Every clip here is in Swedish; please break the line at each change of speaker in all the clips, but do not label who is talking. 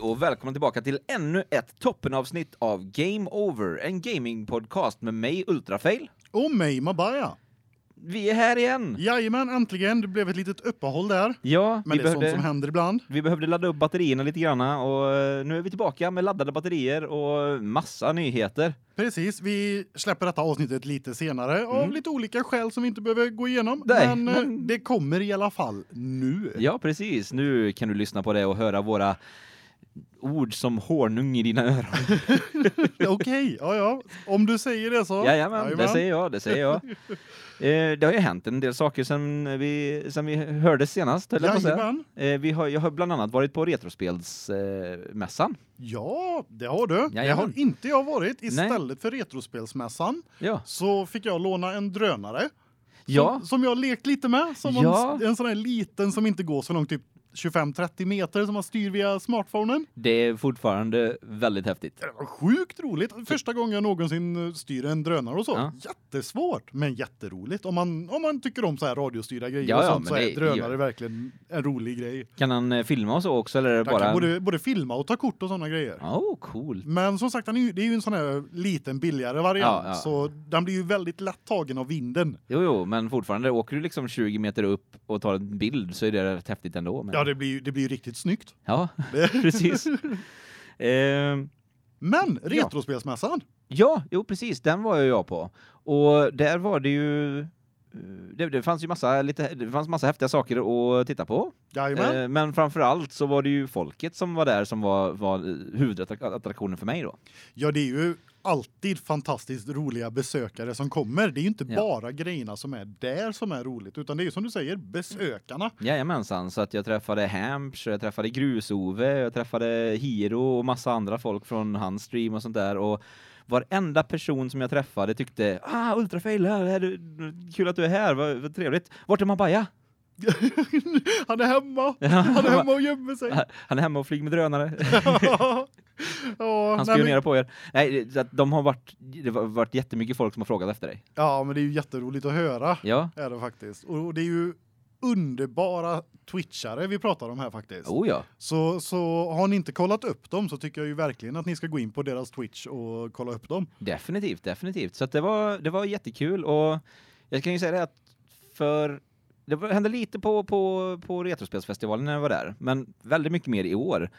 och välkomna tillbaka till ännu ett toppenavsnitt av Game Over, en gamingpodcast med mig Ultrafail.
Och mig, Mabaya.
Vi är här igen!
Jajamän, äntligen. Det blev ett litet uppehåll där.
Ja,
Men
vi,
det är sånt som
behövde,
händer ibland.
vi behövde ladda upp batterierna lite grann och eh, nu är vi tillbaka med laddade batterier och massa nyheter.
Precis, vi släpper detta avsnittet lite senare
Mm.
av lite olika skäl som vi inte behöver gå igenom.
Nej,
men, eh,
men-
det kommer i alla fall nu.
Ja, precis. Nu kan du lyssna på det och höra våra ord som honung i dina öron.
Okej, ja ja. Om du säger det så.
Jajamän, det säger jag, det säger jag. Eh, det har ju hänt en del saker sen vi, sen vi hördes senast, höll jag på att säga.
Jajamän.
Eh, vi har, jag har bland annat varit på Retrospelsmässan. Eh, mässan.
Ja, det har du. Det
Jajamän.
har inte jag varit. Istället för Retrospelsmässan
ja.
så fick jag låna en drönare.
ja,
Som, som jag lekt lite med. Som en-
Ja.
en sån här liten som inte går så långt, typ 25-30 meter som man styr via smartphonen.
det är fortfarande väldigt häftigt.
Det var sjukt roligt. Första gången jag någonsin eh, styr en drönare och så.
Ja.
Jättesvårt, men jätteroligt. Om man, om man tycker om så här radiostyrda grejer
Ja,
och
ja,
sånt
men
så är
det-
drönare
ja.
verkligen en rolig grej.
Kan han eh, filma och så också eller är det
Man
bara...
kan både, både filma och ta kort och sådana grejer.
Oh, coolt.
Men som sagt, den är ju- det är ju en sån här liten billigare variant.
Ja, ja.
Så den blir ju väldigt lätt tagen av vinden.
Jo, jo, men fortfarande åker du liksom 20 meter upp och tar en bild så är det rätt häftigt ändå. Men...
Ja, det blir ju det blir ju riktigt snyggt.
Ja,
Det-
precis. Ehm,
Men
Ja.
Retrospelsmässan,
Ja, jo precis, den var ju jag på. Och där var det ju eh, det, det fanns ju massa lite det fanns massa häftiga saker att titta på.
jajamän.
Eh, men framför allt så var det ju folket som var där som var var eh, huvudattraktionen för mig då.
Ja, det är ju alltid fantastiskt roliga besökare som kommer. Det är ju inte
Ja.
bara grejerna som är där som är roligt, utan det är ju som du säger, besökarna.
Jajamensan, så att jag träffade Hamps, jag träffade Grusove, jag träffade Hiro och massa andra folk från hans stream och sånt där och varenda person som jag träffade tyckte "Ah, Ultrafail, här är du- kul att du är här. Vad, vad trevligt. Vart är Mabaya?"
Han är hemma! Han är hemma och gömmer sig!
Han är hemma och flyger med drönare.
ja,
Han
nej, men,
spionerar på er. Nej, det- så att de har varit det har varit jättemycket folk som har frågat efter dig.
ja, men det är ju jätteroligt att höra,
Ja.
är det faktiskt. Och det är ju underbara twitchare vi pratar om här faktiskt.
Oh ja.
Så, så har ni inte kollat upp dem så tycker jag ju verkligen att ni ska gå in på deras Twitch och kolla upp dem.
Definitivt, definitivt. Så att det var det var jättekul och jag kan ju säga det att för det var- hände lite på på på retrospelsfestivalen när jag var där, men väldigt mycket mer i år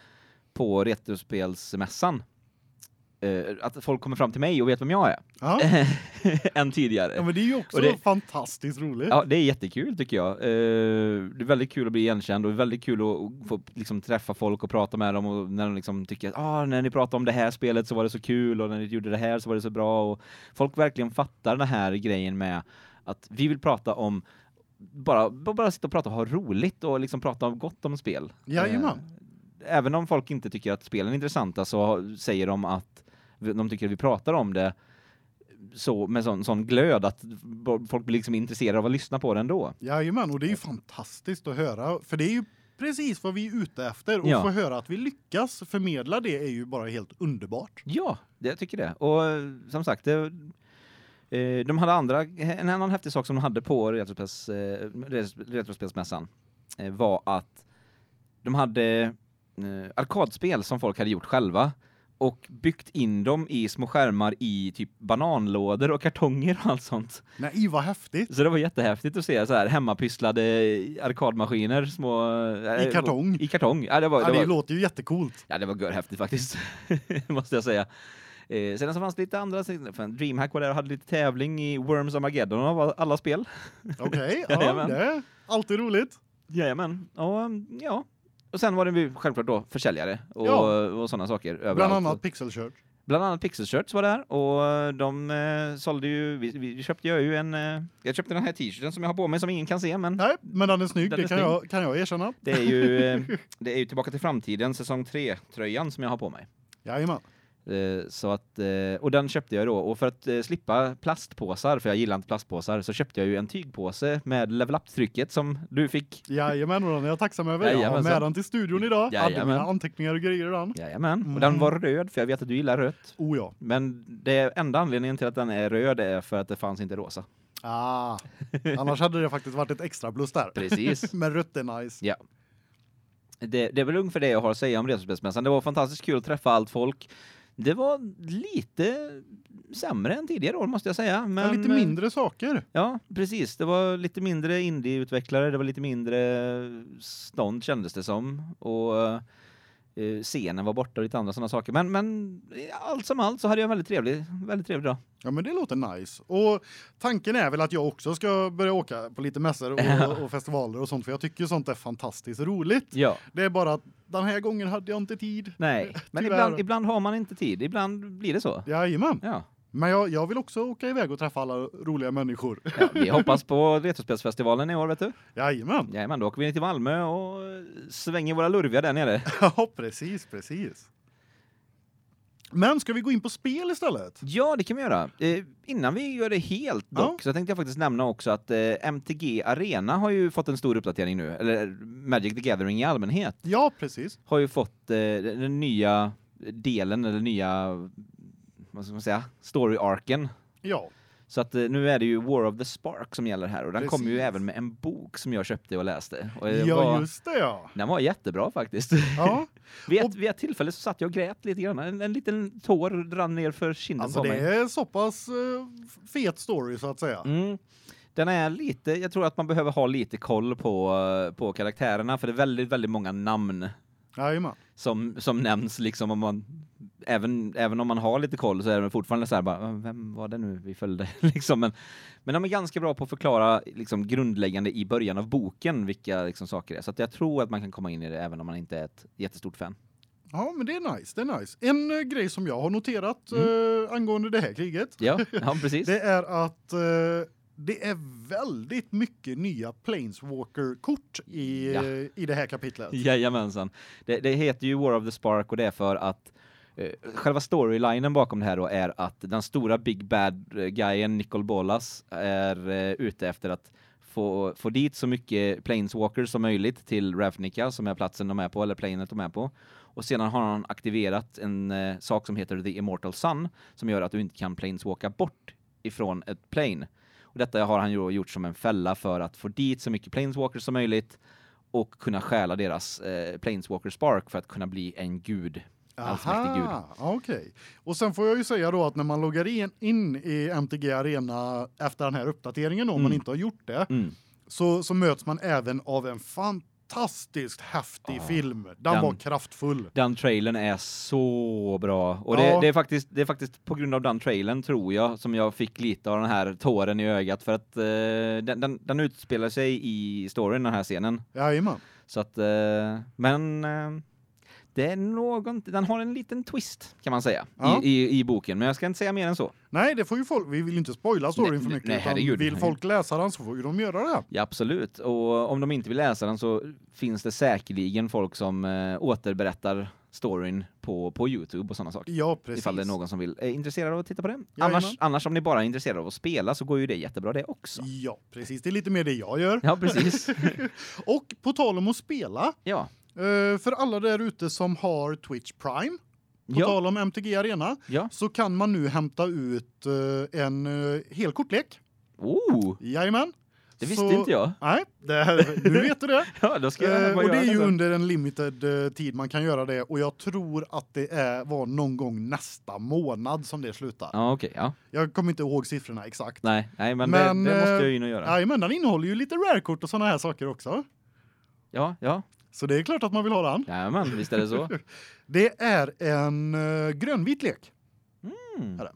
på retrospelsmässan. Eh, att folk kommer fram till mig och vet vem jag är
Ja,
än tidigare.
ja men det är ju också
Eh, Och det-
fantastiskt roligt.
Ja, det är jättekul tycker jag. Eh, det är väldigt kul att bli igenkänd och väldigt kul att, att få liksom, träffa folk och prata med dem och när de liksom tycker att ah, när ni pratade om det här spelet så var det så kul och när ni gjorde det här så var det så bra och folk verkligen fattar den här grejen med att vi vill prata om bara bara sitta och prata och ha roligt och liksom prata om gott om spel.
Jajamän.
Eh, Även om folk inte tycker att spelen är intressanta så säger de att de tycker att vi pratar om det så med sån sån glöd att folk blir liksom intresserade av att lyssna på den då.
Jajamän, och det är ju fantastiskt att höra. För det är ju precis vad vi är ute efter. Och
Ja.
få höra att vi lyckas förmedla det är ju bara helt underbart.
Ja, det, jag tycker det. Och eh, som sagt, det, eh, de hade andra, en annan häftig sak som de hade på retrospels, eh, res- Retrospelsmässan eh, var att de hade eh, arkadspel som folk hade gjort själva och byggt in dem i små skärmar i typ bananlådor och kartonger och allt sånt.
Nej, vad häftigt!
Så det var jättehäftigt att se så här hemmapysslade arkadmaskiner, små... eh,
I kartong.
I kartong. Ja, det var,
Ja,
det
det
var,
låter ju jättecoolt.
Ja, det var görhäftigt faktiskt, måste jag säga. Eh, sedan så fanns det lite andra, fan, DreamHack var där och hade lite tävling i Worms Armageddon av alla spel.
Okej, ja,
Jajamän.
det är alltid roligt.
Jajamän. Och, mm, ja. och sen var det ju självklart då försäljare och,
Ja.
och sådana saker överallt.
Bland annat Pixelkört.
Bland annat Pixelshirts var där och de eh, sålde ju, vi, vi köpte jag ju en, eh, jag köpte den här t-shirten som jag har på mig som ingen kan se men
Nej, men den är snygg,
Den
det
är
kan,
snygg.
Jag, kan jag erkänna.
det är ju, eh, det är ju Tillbaka till framtiden säsong 3-tröjan som jag har på mig.
Jajamän.
Eh, Så att, eh, och den köpte jag då. Och för att eh, slippa plastpåsar, för jag gillar inte plastpåsar, så köpte jag ju en tygpåse med level up-trycket som du fick.
Jajamän, och den är jag tacksam över. Jag har
Jajamensan.
med den till studion idag. Hade
Jajamän.
mina anteckningar och grejer i den.
Jajamän.
Mm.
Och den var röd, för jag vet att du gillar rött.
Oh ja.
Men det enda anledningen till att den är röd är för att det fanns inte rosa.
Ah. Annars hade det faktiskt varit ett extra plus där.
Precis.
Men rött är nice.
Ja. det, det är väl ungefär det jag har att säga om Retrospelsmässan. Det var fantastiskt kul att träffa allt folk. Det var lite sämre än tidigare år måste jag säga. Men,
ja, lite mindre saker.
Ja, precis. Det var lite mindre indieutvecklare, det var lite mindre stånd kändes det som. Och eh, scenen var borta och lite andra sådana saker. Men, men eh, allt som allt så hade jag en väldigt trevlig, väldigt trevlig dag.
Ja, men det låter nice. Och tanken är väl att jag också ska börja åka på lite mässor och, och festivaler och sånt för jag tycker sånt är fantastiskt roligt.
Ja.
Det är bara att den här gången hade jag inte tid.
Nej, men
Tyvärr.
ibland, ibland har man inte tid. Ibland blir det så.
Jajamän.
Ja.
Men jag, jag vill också åka iväg och träffa alla roliga människor.
ja vi hoppas på Retrospelsfestivalen i år, vet du.
Jajamän.
Jajamän, då åker vi ner till Malmö och eh, svänger våra lurviga där nere.
Ja, precis, precis. Men ska vi gå in på spel istället?
Ja, det kan vi göra. Eh, innan vi gör det helt dock
Ja.
så tänkte jag faktiskt nämna också att eh, MTG Arena har ju fått en stor uppdatering nu, eller eh, Magic the Gathering i allmänhet
Ja, precis.
har ju fått eh, den den nya delen eller nya vad ska man säga, story arken.
Ja,
Så att eh, nu är det ju War of the Spark som gäller här och den kommer ju
Precis.
även med en bok som jag köpte och läste och det
ja
var,
just det ja.
den var jättebra faktiskt.
Ja,
vid, ett,
Och-
vid ett tillfälle så satt jag och grät lite grann. En, en liten tår rann ner för kinden
alltså
på
det
mig.
är så pass eh, fet story så att säga.
Mm. Den är lite, jag tror att man behöver ha lite koll på, eh, på karaktärerna för det är väldigt, väldigt många namn
Jajamän.
som, som nämns liksom om man, även, även om man har lite koll så är det fortfarande så här bara, "Äh, vem var det nu vi följde liksom. Men, men de är ganska bra på att förklara liksom grundläggande i början av boken vilka liksom saker det är. Så att jag tror att man kan komma in i det även om man inte är ett jättestort fan.
Ja, men det är nice, det är nice. En eh, grej som jag har noterat
Mm.
eh, angående det här kriget,
Ja, ja precis.
det är att eh, det är väldigt mycket nya Planeswalker-kort i, eh,
Ja.
i det här kapitlet.
Jajamensan. Det, det heter ju War of the Spark och det är för att eh, själva storylinen bakom det här då är att den stora Big Bad eh, guyen Nicol Bolas är eh, ute efter att få, få dit så mycket planeswalkers som möjligt till Ravnica som är platsen de är på, eller planet de är på. Och sedan har han aktiverat en eh, sak som heter The Immortal Sun som gör att du inte kan planeswalka bort ifrån ett plane. Och detta har han ju gjort som en fälla för att få dit så mycket planeswalkers som möjligt och kunna stjäla deras eh, planeswalker spark för att kunna bli en gud. Allsmäktig gud.
Aha, okej. Och sen får jag ju säga då att när man loggar in, in i MTG Arena efter den här uppdateringen då, om man
Mm.
inte har gjort det,
Mm.
så, så möts man även av en fantastiskt häftig
Ja.
film. Den,
Den-
var kraftfull.
Den trailern är så bra och det,
Ja.
det är faktiskt det är faktiskt på grund av den trailern tror jag som jag fick lite av den här tåren i ögat för att eh, den, den den utspelar sig i storyn den här scenen
Jajamän.
så att eh, men eh, det är någon den har en liten twist kan man säga
Ja.
i, i i boken men jag ska inte säga mer än så.
Nej, det får ju folk, vi vill ju inte spoila storyn
Nej,
för mycket.
nej,
utan
herregud.
vill folk läsa den så får ju de göra det.
Ja, absolut. Och om de inte vill läsa den så finns det säkerligen folk som eh, återberättar storyn på, på Youtube och sådana saker.
Ja, precis.
Ifall det är någon som vill, är intresserad av att titta på det.
Jajamän.
Annars, annars om ni bara är intresserade av att spela så går ju det jättebra det också.
Ja, precis. Det är lite mer det jag gör.
Ja, precis.
Och på tal om att spela,
ja.
eh, för alla där ute som har Twitch Prime, på
Ja,
tal om MTG Arena,
ja.
så kan man nu hämta ut eh, en eh, hel kortlek.
Oh,
Jajamän.
det visste inte jag.
Nej, det, nu vet du det.
Ja, då ska jag
Eh,
gärna bara
och det
göra
är ju
sen.
under en limited eh, tid man kan göra det och jag tror att det är, var någon gång nästa månad som det slutar.
Ja, okej. ja.
Jag kommer inte ihåg siffrorna exakt.
Nej, nej, men,
Men,
det, det måste
eh,
jag ju in och göra.
Nej, men den innehåller ju lite rare-kort och såna här saker också.
Ja, ja.
Så det är klart att man vill ha den.
Jajamän, visst är det så.
Det är en eh, grönvit lek,
Mm.
Är det?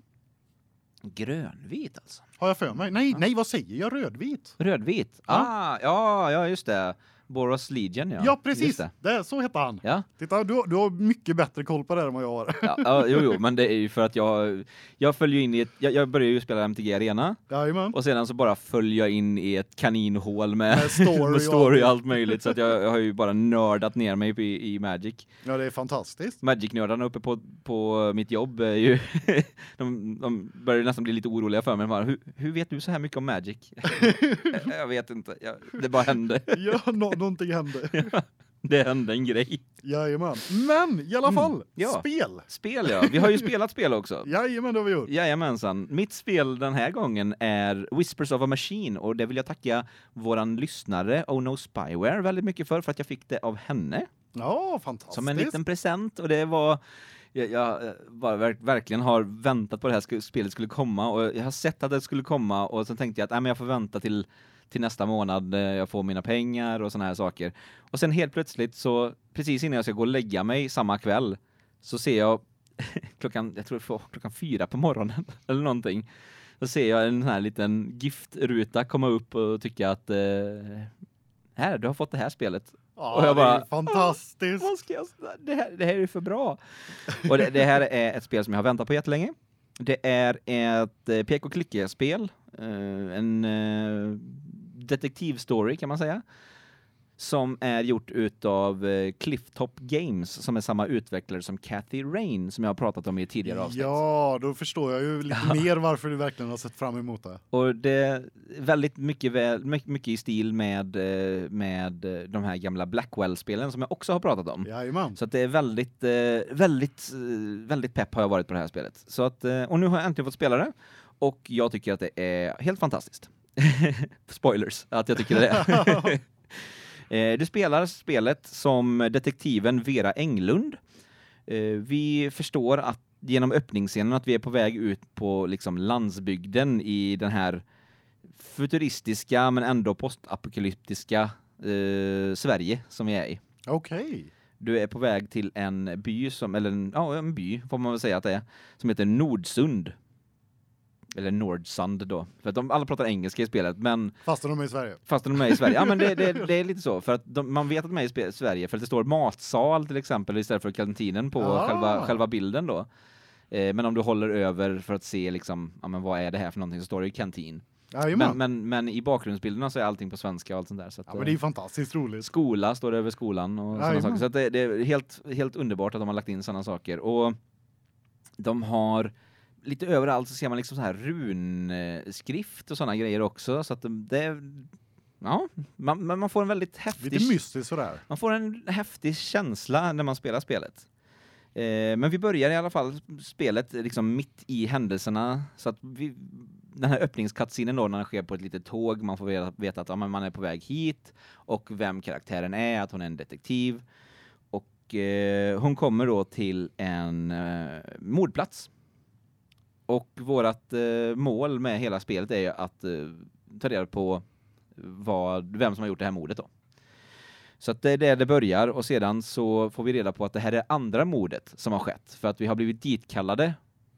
Grönvit alltså.
har jag för mig. Nej,
Ja.
nej, vad säger jag? Rödvit?
Rödvit?
Ja.
Ah, ja, ja, just det. Boros Legion, ja.
Ja, precis.
Just
Det.
det.
så heter han.
Ja.
Titta, du, har- du har mycket bättre koll på det här än vad jag har.
Ja, ja, jo, jo, men det är ju för att jag, jag följer in i ett, jag, jag började ju spela MTG Arena
Jajamän.
och sedan så bara följer jag in i ett kaninhål med,
Med story
med
och
story och
allt.
allt möjligt så att jag, jag har ju bara nördat ner mig i, i Magic.
Ja, det är fantastiskt.
Magic-nördarna uppe på, på mitt jobb är ju, de, de börjar ju nästan bli lite oroliga för mig. Bara, hur, hur vet du så här mycket om Magic? jag, jag vet inte, jag, det bara hände.
Ja, nå någonting hände.
Det hände en grej.
Jajamän. Men i alla fall,
Mm, ja.
spel.
Spel ja, vi har ju spelat spel också.
Jajamän, det har vi gjort.
Jajamensan. Mitt spel den här gången är Whispers of a Machine och det vill jag tacka våran lyssnare Oh No Spyware väldigt mycket för för att jag fick det av henne.
Ja, fantastiskt.
som en liten present och det var jag, jag eh, bara verk, verkligen har väntat på det här sku- spelet skulle komma och jag har sett att det skulle komma och sen tänkte jag att nej, men jag får vänta till till nästa månad eh, jag får mina pengar och såna här saker. Och sen helt plötsligt så precis innan jag ska gå och lägga mig samma kväll så ser jag klockan jag tror det var klockan fyra på morgonen eller någonting. Så ser jag en sån här liten giftruta komma upp och tycka att eh, här du har fått det här spelet.
Ja,
och jag
det är
bara-
fantastiskt.
Vad ska jag, s- det, här, det här är ju för bra. Och det, det här är ett spel som jag har väntat på jättelänge. Det är ett eh, pek och klicka-spel. Eh, en eh, detektivstory kan man säga. Som är gjort utav eh, Clifftop Games som är samma utvecklare som Cathy Rain som jag har pratat om i tidigare avsnitt.
Ja, då förstår jag ju lite mer varför du verkligen har sett fram emot det.
Och det är väldigt mycket, väl, mycket, mycket i stil med, eh, med eh, de här gamla Blackwell-spelen som jag också har pratat om.
Jajamän.
Så att det är väldigt, eh, väldigt, eh, väldigt pepp har jag varit på det här spelet. Så att, eh, och nu har jag äntligen fått spela det. Och jag tycker att det är helt fantastiskt. Spoilers, att jag tycker det. Eh, du spelar spelet som detektiven Vera Englund. Eh, vi förstår att genom öppningsscenen att vi är på väg ut på liksom landsbygden i den här futuristiska men ändå postapokalyptiska eh, Sverige som vi är i
Okej.
du är på väg till en by som eller en, ja, en by får man väl säga att det är som heter Nordsund. Eller Nordsund då. För att de alla pratar engelska i spelet, men
Fastän de är i Sverige.
fast de är i Sverige. Ja, men det, det, det är lite så för att de, man vet att de är i spe, Sverige för att det står matsal till exempel istället för kantinen på
Ah.
själva själva bilden då. Eh, men om du håller över för att se liksom, ja men vad är det här för någonting så står det ju kantin. Men
Jajamän.
men men i bakgrundsbilderna så är allting på svenska och allt sånt där så att,
ja, men
eh,
det är ju fantastiskt roligt.
Skola står det över skolan och sådana
Jajamän.
saker. Så att det, det är helt, helt underbart att de har lagt in sådana saker. Och de har lite överallt så ser man liksom så här runskrift och sådana grejer också. Så att de- det, ja, man, man man får en väldigt häftig
Lite mystiskt sådär.
man får en häftig känsla när man spelar spelet. Eh, men vi börjar i alla fall spelet liksom mitt i händelserna så att vi, den här öppningscutscenen då när den sker på ett litet tåg, man får veta, veta att ja, men man är på väg hit och vem karaktären är, att hon är en detektiv. Och eh, hon kommer då till en eh, mordplats. Och vårat eh, mål med hela spelet är ju att eh, ta reda på vad, vem som har gjort det här mordet då. Så att det är där det börjar och sedan så får vi reda på att det här är andra mordet som har skett för att vi har blivit ditkallade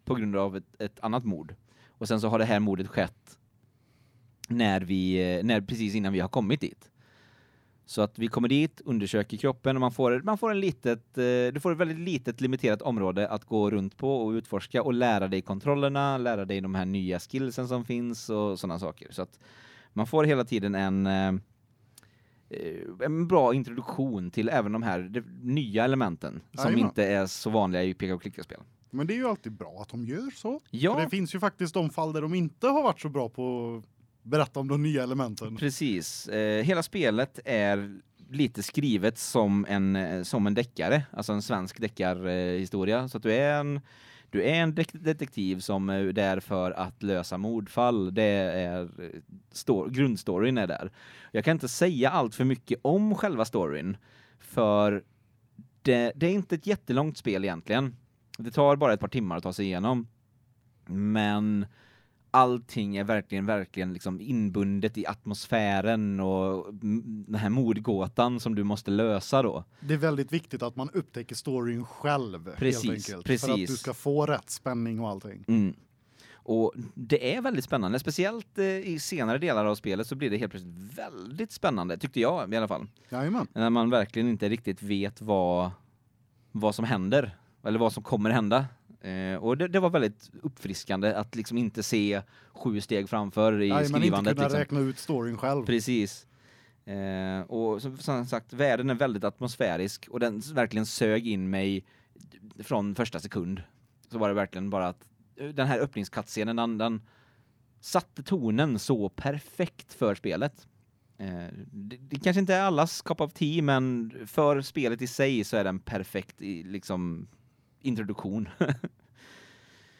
på grund av ett, ett annat mord. Och sen så har det här mordet skett när vi eh, när precis innan vi har kommit dit. Så att vi kommer dit, undersöker kroppen och man får man får en litet eh, du får ett väldigt litet limiterat område att gå runt på och utforska och lära dig kontrollerna, lära dig de här nya skillsen som finns och sådana saker. Så att man får hela tiden en eh, eh, en bra introduktion till även de här de, nya elementen som
Jajamän.
inte är så vanliga i peka och klicka-spel.
Men det är ju alltid bra att de gör så. För
Ja,
det finns ju faktiskt de fall där de inte har varit så bra på att berätta om de nya elementen.
precis. Eh, hela spelet är lite skrivet som en eh, som en deckare, alltså en svensk deckarhistoria så att du är en du är en dek- detektiv som eh, är där för att lösa mordfall. Det är eh, sto- grundstoryn är där. Jag kan inte säga allt för mycket om själva storyn för det, det är inte ett jättelångt spel egentligen. Det tar bara ett par timmar att ta sig igenom. Men allting är verkligen, verkligen liksom inbundet i atmosfären och m- den här mordgåtan som du måste lösa då.
Det är väldigt viktigt att man upptäcker storyn själv
Precis,
helt enkelt för att
precis.
du ska få rätt spänning och allting.
Mm. Och det är väldigt spännande, speciellt eh, i senare delar av spelet så blir det helt plötsligt väldigt spännande, tyckte jag i alla fall.
Jajamän.
När man verkligen inte riktigt vet vad, vad som händer, eller vad som kommer hända. Eh, och det, det var väldigt uppfriskande att liksom inte se sju steg framför i
Nej, man inte kunna
skrivandet. Liksom.
räkna ut storyn själv.
Precis. Eh, och som, som sagt, världen är väldigt atmosfärisk och den s- verkligen sög in mig från första sekund. Så var det verkligen bara att eh, den här öppningskattscenen, den, den satte tonen så perfekt för spelet. Eh, det, det kanske inte är allas cup of tea, men för spelet i sig så är den perfekt i, liksom, introduktion.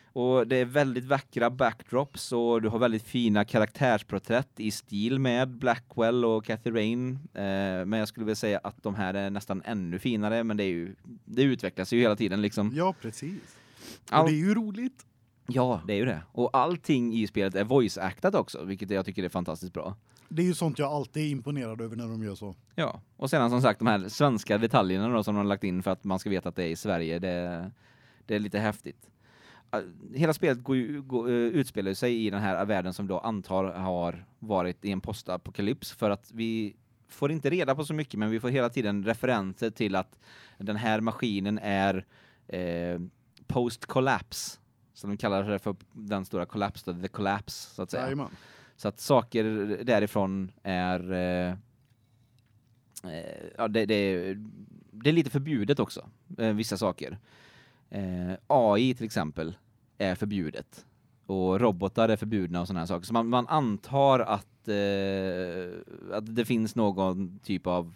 Och det är väldigt vackra backdrops och du har väldigt fina karaktärsporträtt i stil med Blackwell och Cathy Rain. Eh, men jag skulle vilja säga att de här är nästan ännu finare, men det är ju det utvecklas ju hela tiden liksom.
Ja, precis. Och
Allt-
det är ju roligt.
Ja, det är ju det. Och allting i spelet är voice actat också, vilket jag tycker är fantastiskt bra.
Det är ju sånt jag alltid är imponerad över när de gör så.
Ja, och sedan som sagt de här svenska detaljerna då, som de har lagt in för att man ska veta att det är i Sverige, det, det är lite häftigt. Eh, Hela spelet går, ju- går, eh, utspelar sig i den här världen som då antar har varit i en postapokalyps för att vi får inte reda på så mycket men vi får hela tiden referenser till att den här maskinen är eh, post collapse som de kallar det för den stora kollaps då, the collapse så att säga.
Jajamän.
Så att saker därifrån är... Eh, eh, ja, det, det, det är lite förbjudet också, eh, vissa saker. Eh, AI till exempel är förbjudet. Och robotar är förbjudna och sådana här saker. Så man, man antar att, eh, att det finns någon typ av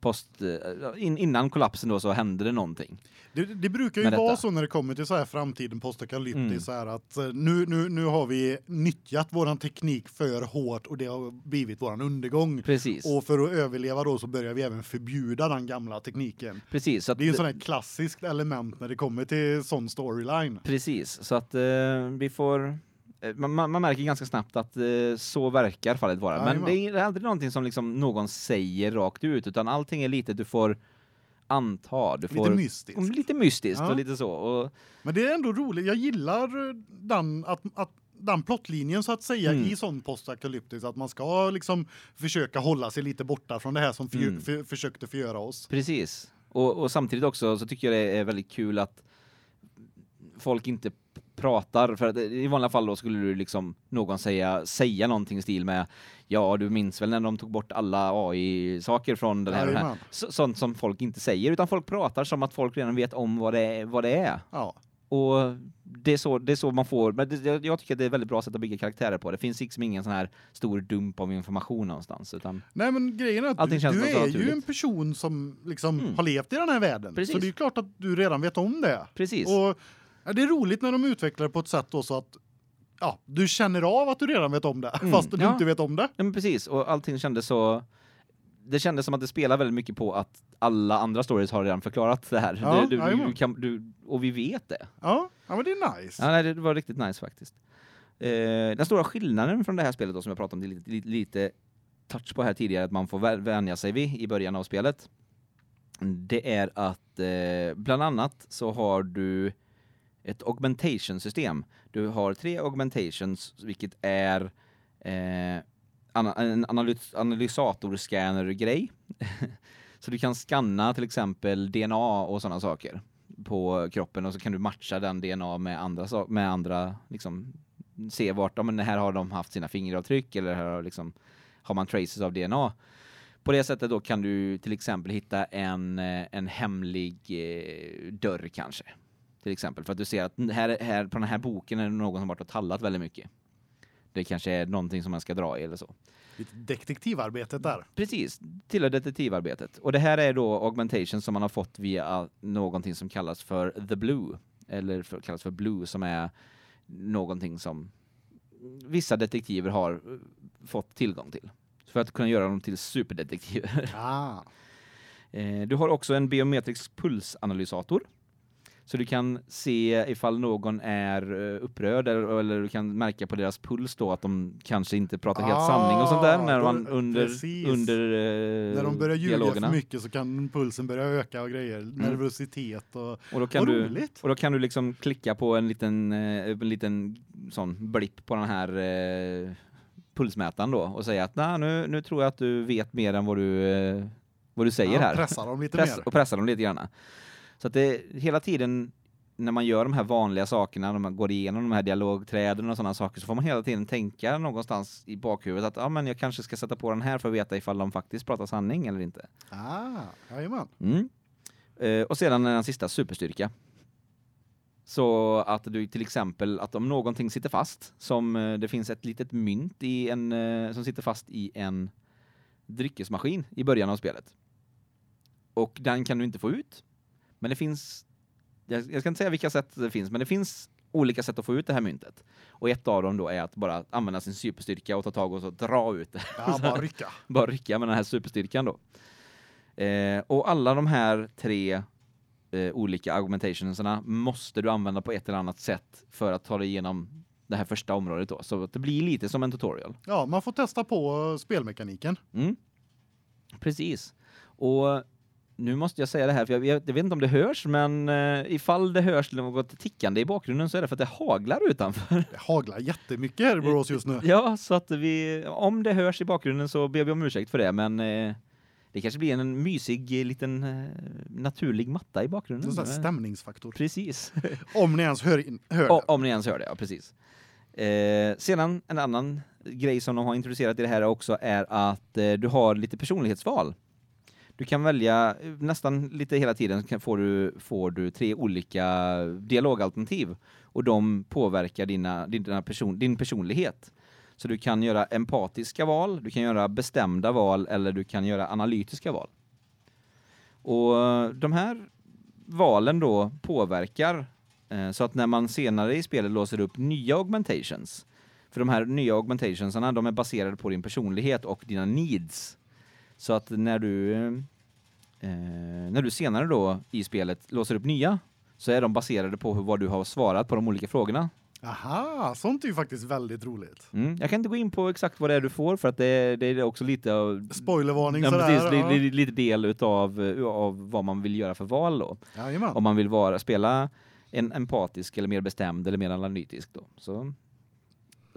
post... Eh, in, innan kollapsen då så hände det någonting.
Det, det brukar ju
Med detta.
vara så när det kommer till så här framtiden postapokalyptiskt
Mm.
så här att eh, nu nu nu har vi nyttjat våran teknik för hårt och det har blivit våran undergång.
Precis.
Och för att överleva då så börjar vi även förbjuda den gamla tekniken.
Precis. Så att
Det är ju en sån här klassiskt element när det kommer till sån storyline.
Precis, så att eh, vi får... eh, Man, man, man märker ganska snabbt att eh, så verkar fallet vara. Men
Jajamän.
det är, det är aldrig någonting som liksom någon säger rakt ut, utan allting är lite du får anta. Du får,
Lite mystiskt.
Mm, Lite mystiskt
Ja.
och lite så. Och,
Men det är ändå roligt. Jag gillar eh, den att att den plottlinjen så att säga
Mm.
i sån postapokalyptisk att man ska liksom försöka hålla sig lite borta från det här som för,
Mm.
för, försökte förgöra oss.
precis. Och, och samtidigt också så tycker jag det är väldigt kul att folk inte p- pratar för att eh, i vanliga fall då skulle du liksom någon säga säga någonting i stil med ja du minns väl när de tog bort alla AI saker från den här, och den här
Jajamän.
så, sånt som folk inte säger utan folk pratar som att folk redan vet om vad det är, vad det är.
Ja.
Och det är så det är så man får men det, jag, jag tycker att det är ett väldigt bra sätt att bygga karaktärer på. Det finns liksom ingen sån här stor dump av information någonstans utan
Nej men grejen är att du,
Allting känns
du
bara så
är ju
naturligt.
en person som liksom
Mm.
har levt i den här världen.
Precis.
Så det är ju klart att du redan vet om det.
precis.
Och ja, det är roligt när de utvecklar det på ett sätt då så att ja, du känner av att du redan vet om det
Mm,
fast du
ja.
inte vet om det.
Ja, men precis och allting kändes så det kändes som att det spelar väldigt mycket på att alla andra stories har redan förklarat det här.
Ja,
du, du,
jajamän.
du kan, du, och vi vet det.
Ja, ja men det är nice.
Ja, nej, det var riktigt nice faktiskt. Eh, den stora skillnaden från det här spelet då, som jag pratade om, det är lite, lite, lite touch på här tidigare, att man får vä- vänja sig vid i början av spelet. Det är att eh, bland annat så har du ett augmentation-system. Du har tre augmentations, vilket är eh, ana- en analys analysatorscanner-grej. så du kan scanna till exempel DNA och sådana saker på kroppen och så kan du matcha den DNA med andra so- med andra liksom se vart de men här har de haft sina fingeravtryck eller här har liksom har man traces av DNA. På det sättet då kan du till exempel hitta en eh, en hemlig eh, dörr kanske. Till exempel för att du ser att n- här här på den här boken är det någon som varit och tallat väldigt mycket. Det kanske är någonting som man ska dra i eller så.
Lite detektivarbetet där.
Precis, tillhör detektivarbetet. Och det här är då augmentation som man har fått via någonting som kallas för the blue. Eller för, kallas för blue som är någonting som vissa detektiver har eh, fått tillgång till. För att kunna göra dem till superdetektiver.
Ah.
Eh, Du har också en biometrisk pulsanalysator. Så du kan se ifall någon är eh, upprörd eller, eller du kan märka på deras puls då att de kanske inte pratar helt
Ah,
sanning och sånt där när
då-
man under
precis.
under eh,
När de börjar ljuga
dialogerna. Mm.
för mycket så kan pulsen börja öka och grejer, nervositet och
Och då kan
Vad
du
roligt.
och då kan du liksom klicka på en liten eh, en liten sån blipp på den här eh, pulsmätaren då och säga att "Nej, nu nu tror jag att du vet mer än vad du eh, vad du säger
ja,
här.
pressa dem lite
press,
mer.
och pressa dem lite grann. Så att det hela tiden när man gör de här vanliga sakerna, när man går igenom de här dialogträden och sådana saker så får man hela tiden tänka någonstans i bakhuvudet att ja men jag kanske ska sätta på den här för att veta ifall de faktiskt pratar sanning eller inte.
Ah, jajamän.
Mm. Eh, och sedan den sista, superstyrka. Så att du till exempel, att om någonting sitter fast, som eh, det finns ett litet mynt i en, eh, som sitter fast i en dryckesmaskin i början av spelet. Och den kan du inte få ut. Men det finns, jag, jag ska inte säga vilka sätt det finns, men det finns olika sätt att få ut det här myntet. Och ett av dem då är att bara använda sin superstyrka och ta tag och så dra ut det.
Ja, bara rycka.
bara rycka med den här superstyrkan då. Eh, och alla de här tre eh, olika augmentationsarna måste du använda på ett eller annat sätt för att ta dig igenom det här första området då. Så att det blir lite som en tutorial.
Ja, man får testa på eh, spelmekaniken.
Mm. Precis. Och nu måste jag säga det här, för jag vet, jag vet inte om det hörs, men eh, ifall det hörs något tickande i bakgrunden så är det för att det haglar utanför.
Det haglar jättemycket här i Borås just nu.
ja, så att vi, om det hörs i bakgrunden så ber vi om ursäkt för det, men eh, det kanske blir en mysig eh, liten eh, naturlig matta i
Det är
bakgrunden. Eh,
en sån här stämningsfaktor.
Precis.
Om ni ens hör, in, hör
O- om ni ens hör det, ja precis. Eh, sedan en annan grej som de har introducerat i det här också är att eh, du har lite personlighetsval. Du kan välja eh, nästan lite hela tiden kan, får, du, får du tre olika dialogalternativ och de påverkar dina, dina person, din personlighet. Så du kan göra empatiska val, du kan göra bestämda val eller du kan göra analytiska val. Och eh, de här valen då påverkar Eh, Så att när man senare i spelet låser upp nya augmentations, för de här nya augmentationsarna, de är baserade på din personlighet och dina needs. Så att när du, eh, eh, när du senare då i spelet låser upp nya, så är de baserade på hur, vad du har svarat på de olika frågorna.
Aha, sånt är ju faktiskt väldigt roligt.
Mm. Jag kan inte gå in på exakt vad det är du får, för att det, det är också lite av...
Spoilervarning
Ja,
sådär.
precis, li,
ja.
li, lite del utav, eh, av vad man vill göra för val då.
Jajamän.
om man vill vara, spela en empatisk eller mer bestämd eller mer analytisk då. Så,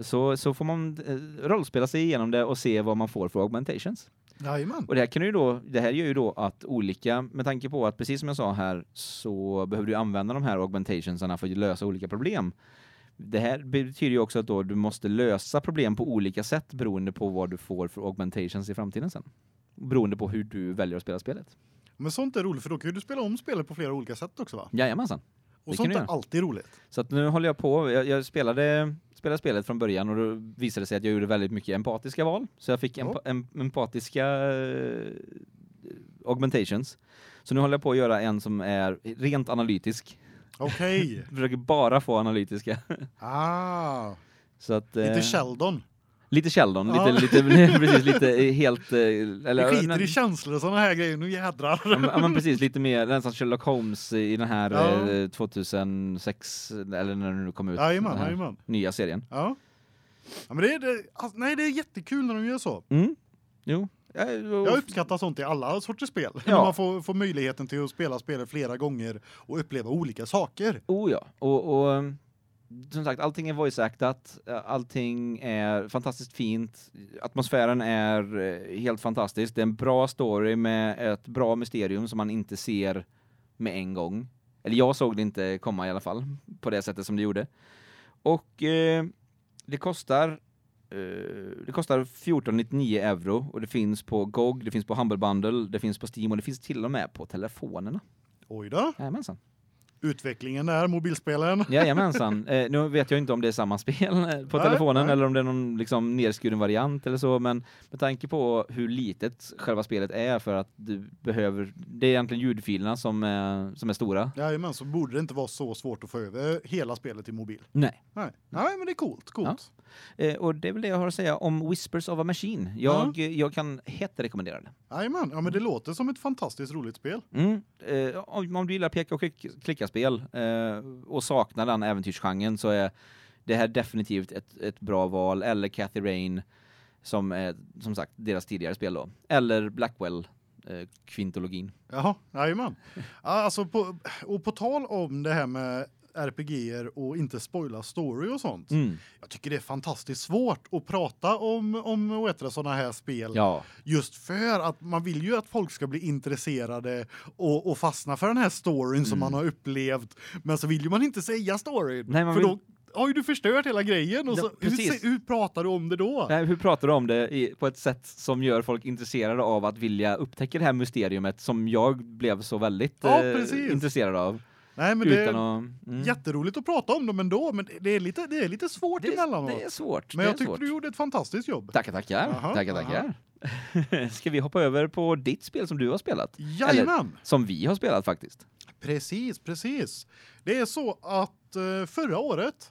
så, så får man eh, rollspela sig igenom det och se vad man får för augmentations.
Jajamän.
Och det här, kan ju då, det här gör ju då att olika, med tanke på att precis som jag sa här så behöver du använda de här augmentationsarna för att lösa olika problem. Det här betyder ju också att då du måste lösa problem på olika sätt beroende på vad du får för augmentations i framtiden sen. Beroende på hur du väljer att spela spelet.
Men sånt är roligt för då kan ju du spela om spelet på flera olika sätt också va?
Jajamensan.
Och
kan
sånt
du
är
göra.
alltid roligt.
Så att nu håller jag på. Jag, jag spelade, spelade spelet från början och då visade det sig att jag gjorde väldigt mycket empatiska val. Så jag fick empa, em, empatiska eh, augmentations. Så nu håller jag på att göra en som är rent analytisk.
Okej.
Jag försöker bara få analytiska.
Ah,
Så att, eh,
lite Sheldon.
lite Sheldon.
Ja.
Lite, lite, precis, lite helt... eh,
Vi
Eller,
skiter i känslor och såna här grejer, nu jädrar.
Ja, men- ja, men precis, lite mer nästan Sherlock Holmes i den här
Ja.
eh, 2006, eller när den nu kom ut,
Jajamän,
den här
jajamän.
nya serien.
Ja. ja men det är, det, alltså, nej, det är jättekul när de gör så.
Mm. Jo. Jag,
Jag uppskattar sånt i alla sorters spel.
Ja.
När man får, får möjligheten till att spela spelet flera gånger och uppleva olika saker.
Oh ja, och, och um, som sagt, allting är voice-actat, eh, allting är fantastiskt fint, atmosfären är eh, helt fantastisk, det är en bra story med ett bra mysterium som man inte ser med en gång. Eller jag såg det inte komma i alla fall, på det sättet som det gjorde. Och eh, det kostar eh, det kostar 14,99 euro och det finns på GOG, det finns på Humble Bundle, det finns på Steam och det finns till och med på telefonerna.
Oj då.
Jajamensan.
Utvecklingen där, mobilspelen.
Jajamensan. Eh, nu vet jag inte om det är samma spel eh, på
Nej,
telefonen
nej.
eller om det är någon liksom nedskuren variant eller så, men med tanke på hur litet själva spelet är för att du behöver, det är egentligen ljudfilerna som är, som är stora.
Jajamän, så borde det inte vara så svårt att få över hela spelet till mobil.
Nej.
Nej, nej men det är coolt, coolt.
Eh, och det är väl det jag har att säga om Whispers of a Machine. Jag,
Mm.
jag kan hett rekommendera det.
Jajamän, ja men det låter som ett fantastiskt roligt spel.
Mm. Eh, om, om du gillar peka och klick, klicka-spel eh, och saknar den äventyrsgenren så är det här definitivt ett, ett bra val. Eller Cathy Rain, som är som sagt deras tidigare spel då. Eller Blackwell, eh, kvintologin.
Jaha, jajamän. Ja, Alltså på, och på tal om det här med RPGer och inte spoila story och sånt.
Mm.
Jag tycker det är fantastiskt svårt att prata om om vad heter det, såna här spel
Ja.
just för att man vill ju att folk ska bli intresserade och och fastna för den här storyn som man har upplevt men så vill ju man inte säga storyn
Mm. Nej, man
för
vill-
då har ju du förstört hela grejen och
Ja,
så hur,
precis.
se- hur pratar du om det då?
Nej, Eh, hur pratar du om det i, på ett sätt som gör folk intresserade av att vilja upptäcka det här mysteriumet som jag blev så väldigt
Ja,
eh,
precis.
intresserad av?
Nej men det
utan
är
att, mm.
jätteroligt att prata om dem ändå men det- det är lite det är lite svårt
det, är-
emellanåt.
det är svårt.
men
det är
jag tyckte
svårt.
du gjorde ett fantastiskt jobb.
Tackar, tackar.
Jaha,
tackar,
jaha.
tackar. Ska vi hoppa över på ditt spel som du har spelat?
Jajamän!
Som vi har spelat faktiskt.
Precis, precis. Det är så att eh, förra året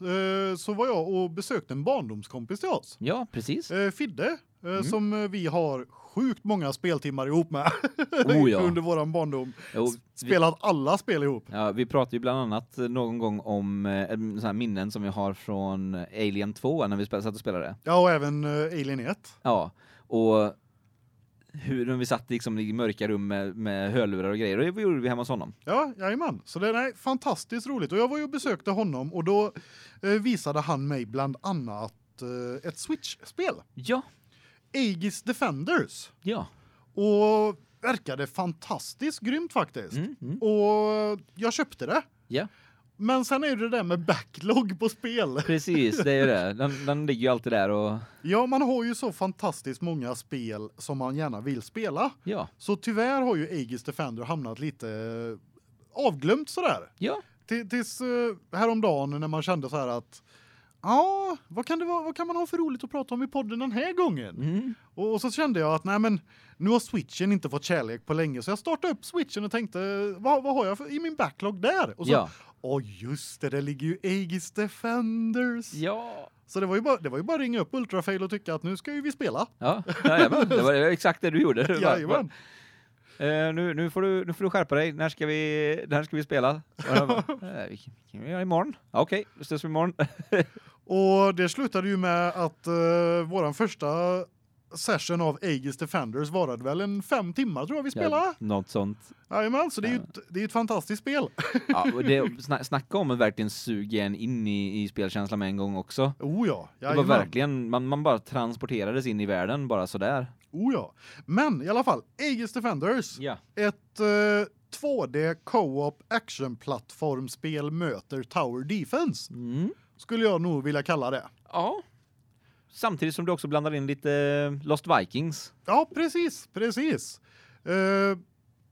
eh, så var jag och besökte en barndomskompis till oss.
Ja, precis.
Eh, Fidde, eh,
Mm.
som eh, vi har sjukt många speltimmar ihop med
Oh, ja.
under våran barndom.
Jo, vi,
Spelat alla spel ihop.
ja, vi pratade ju bland annat eh, någon gång om eh, en sån här minnen som vi har från Alien 2 när vi spel, satt och spelade.
Ja, och även eh, Alien 1.
Ja, och hur när vi satt liksom i mörka rum med, med hörlurar och grejer. Och det gjorde vi hemma hos honom.
Ja, jajamän. Så det är fantastiskt roligt. Och jag var ju och besökte honom och då eh, visade han mig bland annat eh, ett Switch-spel.
Ja,
Aegis Defenders.
ja.
Och verkade fantastiskt grymt faktiskt.
Mm, mm.
Och jag köpte det.
Ja.
Men sen är ju det där med backlog på spel.
Precis, det är ju det. Den, den ligger ju alltid där och
Ja, man har ju så fantastiskt många spel som man gärna vill spela.
ja,
Så tyvärr har ju Aegis Defender hamnat lite eh, avglömt sådär.
ja,
T- Tills eh, häromdagen när man kände så här att Ja, vad kan det vara vad kan man ha för roligt att prata om i podden den här gången?
mm.
Och, och så kände jag att nej men nu har switchen inte fått kärlek på länge så jag startade upp switchen och tänkte vad vad har jag för, i min backlog där? Och så
ja,
åh just det, där ligger ju Aegis Defenders.
ja.
Så det var ju bara det var ju bara att ringa upp Ultrafail och tycka att nu ska ju vi spela.
Ja, jajamän. det var exakt det du gjorde. Du bara,
Jajamän.
Eh, nu, nu, får du, nu får du skärpa dig. När ska vi, när ska vi spela? Och jag bara, eh, vi kan, kan vi göra imorgon. Ja, Okej, okay, då ses vi imorgon.
Och det slutade ju med att uh, våran första session av Aegis Defenders varade väl en fem timmar tror jag vi spelade.
Ja, något sånt.
Jajamän, så det är ju ett, det är ju ett fantastiskt spel.
Ja, och det, sna, snacka om att verkligen suga en in i, i spelkänslan med en gång också.
Oh ja,
Det var verkligen, man, man bara transporterades in i världen bara sådär.
Oh ja. Men i alla fall, Aegis Defenders.
Ja.
Ett eh, 2D co-op actionplattformspel möter Tower Defense.
Mm.
Skulle jag nog vilja kalla det.
ja. Samtidigt som du också blandar in lite eh, Lost Vikings.
Ja, precis, precis. Eh,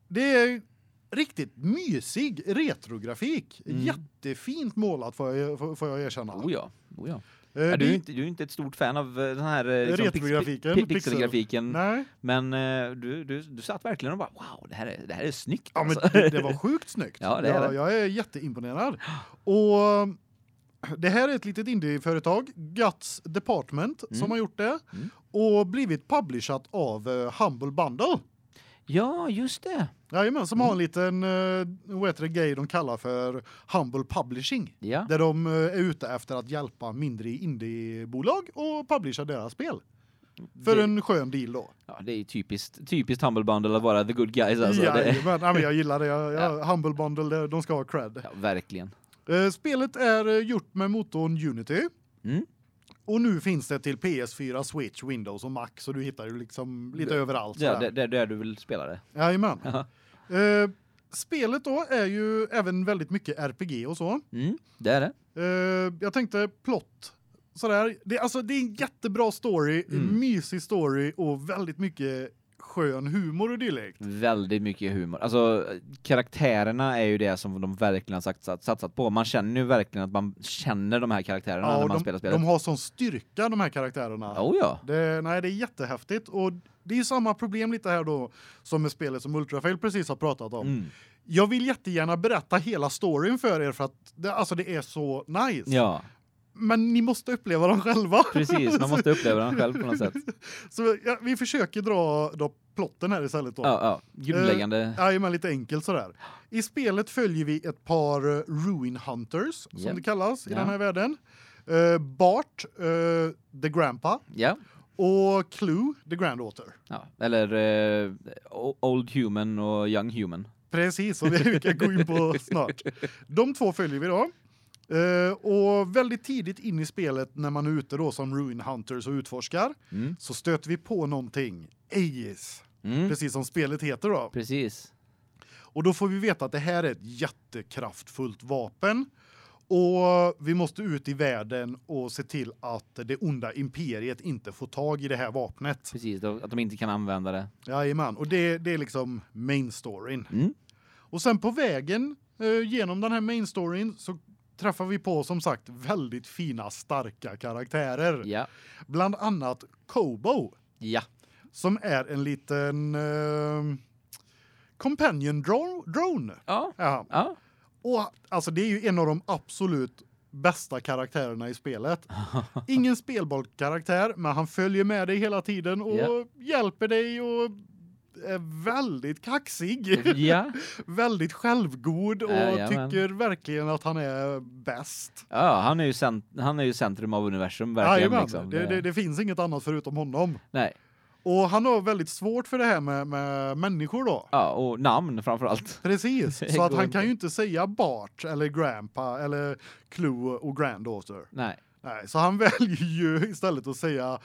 det är riktigt mysig retrografik.
Mm.
Jättefint målat får jag får, får jag erkänna.
Oh ja, oh ja.
Eh,
Ja,
det-
du, är ju inte, du är ju inte ett stort fan av eh, den här eh, liksom, pix-
Retrografiken,
pi-
pixel.
pixelgrafiken.
Nej.
Men eh, du, du, du satt verkligen och bara wow, det här är, det här är snyggt
Ja, men
alltså.
det, det var sjukt snyggt.
Ja, det är
jag,
det.
jag är jätteimponerad. Och det här är ett litet indieföretag, Guts Department, som
Mm.
har gjort det.
Mm.
Och blivit publishat av eh, Humble Bundle.
ja, just det.
Jajamän, som
Mm.
har en liten eh, vad heter det, grej de kallar för Humble Publishing.
Ja.
Där de eh, är ute efter att hjälpa mindre indiebolag och publisha deras spel. För
det,
en skön deal då.
ja, det är ju typiskt, typiskt Humble Bundle att vara the good guys alltså. Det,
Jajamän, ja, men jag gillar det. Jag, jag, Humble Bundle, de ska ha cred.
ja, verkligen.
Eh, Spelet är eh, gjort med motorn Unity.
Mm.
Och nu finns det till PS4, Switch, Windows och Mac så du hittar ju liksom lite överallt.
Ja,
sådär.
det, det, det är du vill spela det.
Jajamän.
Ja.
Eh, spelet då är ju även väldigt mycket RPG och så.
Mm, det är det.
Eh, jag tänkte plott sådär. Det, alltså, det är en jättebra story, en
Mm.
mysig story och väldigt mycket skön humor och dylikt.
Väldigt mycket humor. Alltså karaktärerna är ju det som de verkligen har satsat, satsat på. Man känner ju verkligen att man känner de här karaktärerna när
och
man
de,
spelar spelet.
de har sån styrka de här karaktärerna.
Oh ja.
Det, nej, det är jättehäftigt. Och det är ju samma problem lite här då som med spelet som Ultrafail precis har pratat om.
Mm.
Jag vill jättegärna berätta hela storyn för er för att det, alltså det är så nice.
Ja,
Men ni måste uppleva den själva.
precis. Man måste uppleva den själv på något sätt.
Så ja, vi försöker dra då plotten här istället då.
Ja, ja. Grundläggande.
Jajamän, lite enkelt sådär. I spelet följer vi ett par eh, Ruin Hunters, som
Ja.
det kallas i
Ja.
den här världen. Eh, Bart, eh, The Grandpa,
Ja.
och Clue, The Granddaughter.
Ja, eller eh, o- Old Human och Young Human.
Precis, och det vi kan gå in på snart. De två följer vi då. Eh, och väldigt tidigt in i spelet när man är ute då som Ruin Hunters och utforskar
Mm.
så stöter vi på någonting, Aegis,
Mm.
precis som spelet heter då.
Precis.
Och då får vi veta att det här är ett jättekraftfullt vapen. Och vi måste ut i världen och se till att det onda imperiet inte får tag i det här vapnet.
Precis, då- att de inte kan använda det.
Jajamän, och det, det är liksom main storyn.
Mm.
Och sen på vägen eh, genom den här main storyn så träffar vi på som sagt väldigt fina starka karaktärer.
Ja.
Bland annat Kobo
Ja.
som är en liten eh, Companion dro- Drone.
Ja.
Ja.
Ja.
Och alltså det är ju en av de absolut bästa karaktärerna i spelet. Ingen spelbar karaktär, men han följer med dig hela tiden och
Ja.
hjälper dig och är väldigt kaxig,
Ja. väldigt
väldigt självgod och
Jajamän.
tycker verkligen att han är bäst.
Ja, han är ju cent- han är ju centrum av universum verkligen
Jajamän,
liksom.
det, det, det finns inget annat förutom honom.
Nej.
Och han har väldigt svårt för det här med, med människor då.
Ja, och namn framför allt. Det
Precis, så att
går
han
inte.
kan ju inte säga Bart eller Grandpa eller Clue och Granddaughter.
Nej.
Nej, så han väljer ju istället att säga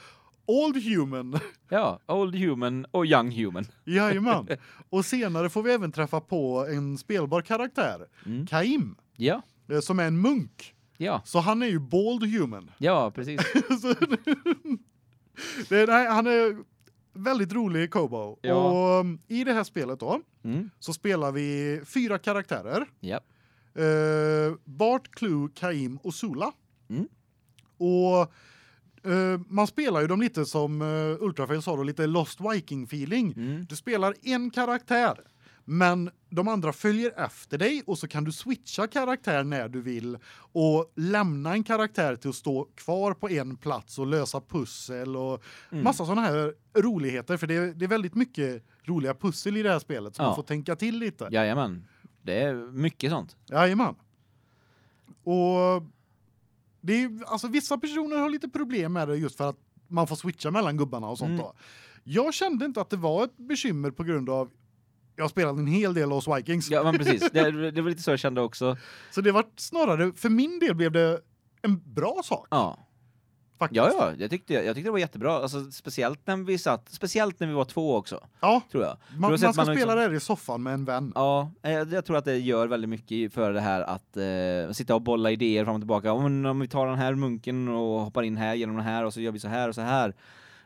Old Human.
Ja, old human och young human.
Jajamän. Och senare får vi även träffa på en spelbar karaktär,
Mm.
Kaim,
Ja.
eh, som är en munk.
Ja.
Så han är ju Bald Human.
Ja, precis.
Så- det, nej, han är väldigt rolig i Kobo.
Ja.
Och um, i det här spelet då
Mm.
så spelar vi fyra karaktärer.
Ja.
Eh, Bart, Clue, Kaim och Sula.
Mm.
Och eh, man spelar ju dem lite som uh, Ultrafail sa då, lite Lost Viking-feeling.
Mm.
Du spelar en karaktär, men de andra följer efter dig och så kan du switcha karaktär när du vill och lämna en karaktär till att stå kvar på en plats och lösa pussel och
Mm.
massa sådana här roligheter. För det är, det är väldigt mycket roliga pussel i det här spelet så
Ja.
man får tänka till lite.
Jajamän. Det är mycket sånt.
Jajamän. Och det är ju- alltså vissa personer har lite problem med det just för att man får switcha mellan gubbarna och sånt
Mm.
då. Jag kände inte att det var ett bekymmer på grund av jag spelade en hel del Lost Vikings.
Ja, men precis. Det, det var lite så jag kände också.
Så det var snarare för min del blev det en bra sak
Ja.
faktiskt.
Ja, ja, jag tyckte jag tyckte det var jättebra. Alltså speciellt när vi satt, speciellt när vi var två också,
Ja,
tror jag. För
man,
då
man
sätter
ska spela
liksom-
det här i soffan med en vän.
Ja, eh, jag tror att det gör väldigt mycket för det här att eh, sitta och bolla idéer fram och tillbaka. Om, om vi tar den här munken och hoppar in här genom den här och så gör vi så här och så här.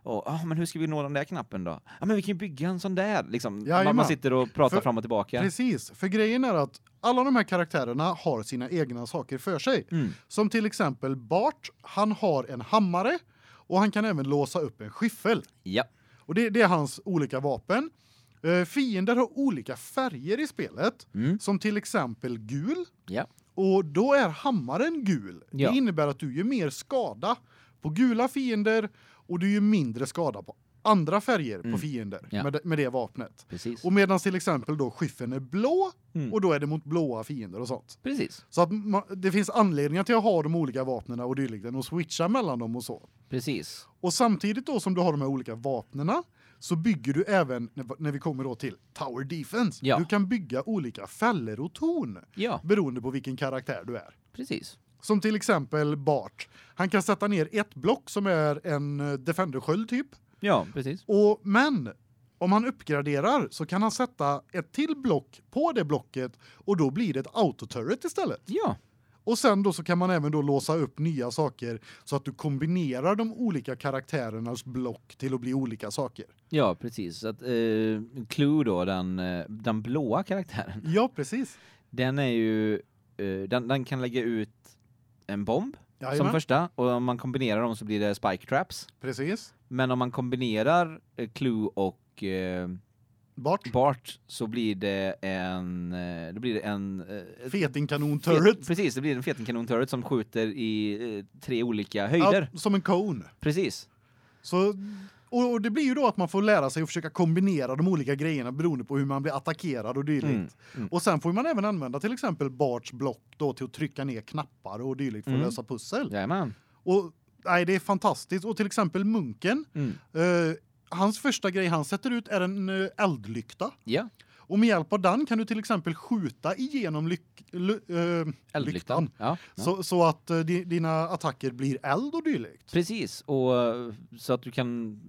Och, ah, men hur ska vi nå den där knappen då? Ja, men vi kan ju bygga en sån där. Liksom. Man, man
Jajamän.
sitter och pratar
För-
fram och tillbaka.
Precis, för grejen är att alla de här karaktärerna har sina egna saker för sig.
Mm.
Som till exempel Bart, han har en hammare och han kan även låsa upp en skyffel.
Ja.
Och det, det är hans olika vapen. Eh, fiender har olika färger i spelet,
Mm.
som till exempel gul.
Ja.
Och då är hammaren gul.
Ja.
Det innebär att du gör mer skada på gula fiender och du gör mindre skada på andra färger
Mm.
på fiender
Ja.
med, det- med det vapnet.
Precis.
Och medan till exempel då skyffeln är blå
Mm.
och då är det mot blåa fiender och sånt.
Precis.
Så att ma- det finns anledningar till att ha de olika vapnena och dylikt och switcha mellan dem och så.
Precis.
Och samtidigt då som du har de här olika vapnena så bygger du även när- när vi kommer då till tower defense.
Ja.
Du kan bygga olika fällor och torn
Ja,
beroende på vilken karaktär du är.
precis.
Som till exempel Bart. Han kan sätta ner ett block som är en eh, defendersköld typ.
Ja, precis.
Och men om han uppgraderar så kan han sätta ett till block på det blocket och då blir det ett autoturret istället.
Ja.
Och sen då så kan man även då låsa upp nya saker så att du kombinerar de olika karaktärernas block till att bli olika saker.
Ja, precis. Så att eh, Clue då, den, eh, den blåa karaktären,
Ja, precis.
den är ju, eh, den, den kan lägga ut en bomb som första, och om man kombinerar dem så blir det spike traps.
precis.
Men om man kombinerar eh, Clue och eh,
Bart.
Bart så blir det en, eh, då blir det en... Eh, ett
Fetingkanon-turret.
fet- precis, det blir en fetingkanon-turret som skjuter i eh, tre olika höjder.
Ja, som en cone.
Precis.
Så, och, och det blir ju då att man får lära sig att försöka kombinera de olika grejerna beroende på hur man blir attackerad och dylikt.
Mm, mm.
Och sen får man även använda till exempel Barts block då till att trycka ner knappar och dylikt för
Mm.
att lösa pussel.
Jajamän.
Och nej, det är fantastiskt. Och till exempel munken.
Mm.
Eh, hans första grej han sätter ut är en eh, eldlykta.
Ja,
Och med hjälp av den kan du till exempel skjuta igenom lyk, ly, eh,
eldlyktan.
lyktan.
Ja, ja.
Så, så att eh, di, dina attacker blir eld och dylikt.
Precis, och eh, så att du kan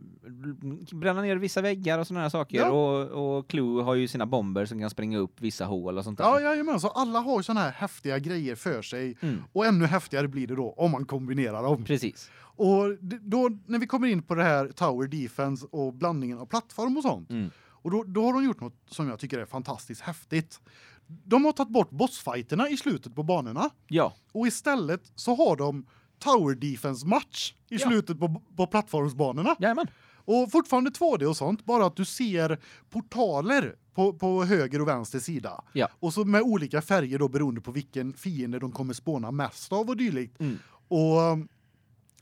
bränna ner vissa väggar och sådana här saker.
Ja.
Och, och Clue har ju sina bomber som kan spränga upp vissa hål och sånt där.
Ja, jajamän. Så alla har såna här häftiga grejer för sig.
Mm.
Och ännu häftigare blir det då om man kombinerar dem.
Precis.
Och d- då när vi kommer in på det här tower defense och blandningen av plattform och sånt.
Mm.
Och då då har de gjort något som jag tycker är fantastiskt häftigt. De har tagit bort bossfighterna i slutet på banorna
Ja,
och istället så har de tower defense match i
Ja.
slutet på på plattformsbanorna.
jajamän.
Och fortfarande 2D och sånt, bara att du ser portaler på på höger och vänster sida.
Ja.
Och så med olika färger då beroende på vilken fiende de kommer spåna mest av och dylikt.
Mm.
Och um,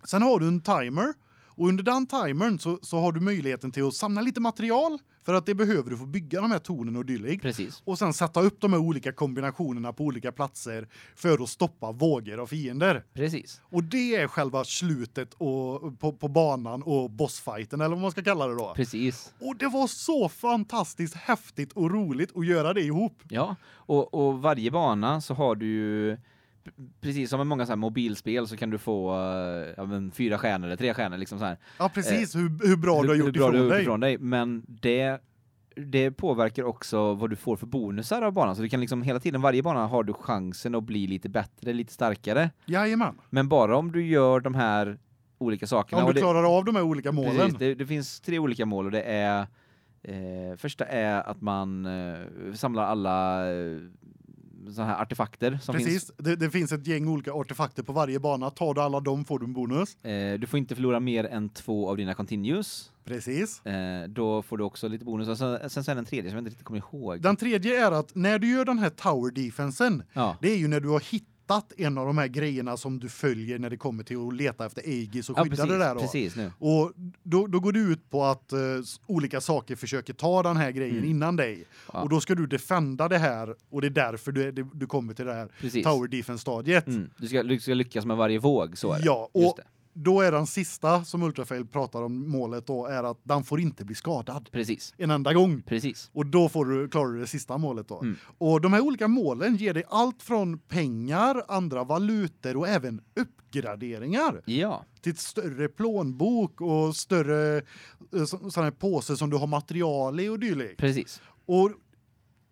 sen har du en timer och under den timern så så har du möjligheten till att samla lite material för att det behöver du för att bygga de här tornen och dylikt.
Precis.
Och sen sätta upp de här olika kombinationerna på olika platser för att stoppa vågor av fiender.
Precis.
Och det är själva slutet och på på banan och bossfighten eller vad man ska kalla det då.
Precis.
Och det var så fantastiskt häftigt och roligt att göra det ihop.
Ja, och, och varje bana så har du ju p- precis som med många så här mobilspel så kan du få eh, ja, men fyra stjärnor eller tre stjärnor liksom så här.
Ja, precis. hur, hur bra du har
hur
gjort
bra
ifrån
du har gjort
dig.
ifrån dig, men det det påverkar också vad du får för bonusar av banan så du kan liksom hela tiden varje bana har du chansen att bli lite bättre, lite starkare,
Jajamän.
men bara om du gör de här olika sakerna
Om
och
du
det-
klarar av de här olika målen.
Precis, det, det finns tre olika mål och det är eh, första är att man eh, samlar alla eh, såna här artefakter som
Precis.
finns.
Det, det finns ett gäng olika artefakter på varje bana. Tar du alla dem får du en bonus.
Eh, du får inte förlora mer än två av dina continues.
Precis.
Eh, då får du också lite bonus. Och sen, sen så är det en tredje som jag inte riktigt kommer ihåg.
Den tredje är att när du gör den här tower defensen,
Ja,
det är ju när du har hittat en av de här grejerna som du följer när det kommer till att leta efter Aegis och
ja
skydda
precis,
det där då.
precis nu.
Och då då går det ut på att eh, s- olika saker försöker ta den här grejen
Mm.
innan dig.
Ja.
Och då ska du defenda det här och det är därför du det, du kommer till det här
Precis.
tower defense stadiet.
Mm. Du, ska, du ska lyckas med varje våg, så är det.
Ja,
Just
och
det.
då är den sista som Ultrafail pratar om målet då är att den får inte bli skadad
Precis,
en enda gång.
precis.
Och då får du klarar du det sista målet då.
Mm.
Och de här olika målen ger dig allt från pengar, andra valutor och även uppgraderingar
Ja,
till ett större plånbok och större eh, så- sån här påse som du har material i och dylikt.
precis.
Och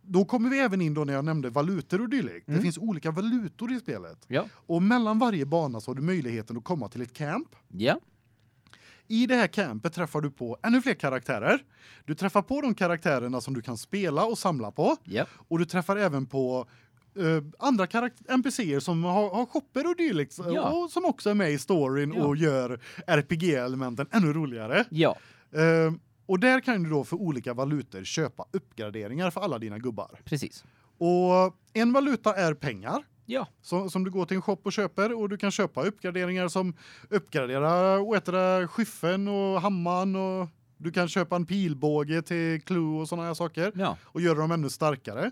då kommer vi även in då när jag nämnde valutor och dylikt. Det
Mm.
finns olika valutor i spelet.
Ja,
Och mellan varje bana så har du möjligheten att komma till ett camp.
ja.
I det här campet träffar du på ännu fler karaktärer. Du träffar på de karaktärerna som du kan spela och samla på
ja.
och du träffar även på eh, andra karaktär NPC:er som har har shopper och dylikt eh,
Ja.
och som också är med i storyn
Ja.
och gör RPG-elementen ännu roligare.
ja.
Eh, och där kan du då för olika valutor köpa uppgraderingar för alla dina gubbar.
precis.
Och en valuta är pengar.
Ja,
Som, som du går till en shop och köper och du kan köpa uppgraderingar som uppgraderar och äta skyffen och hammaren och du kan köpa en pilbåge till Clue och såna här saker
ja.
och göra dem ännu starkare.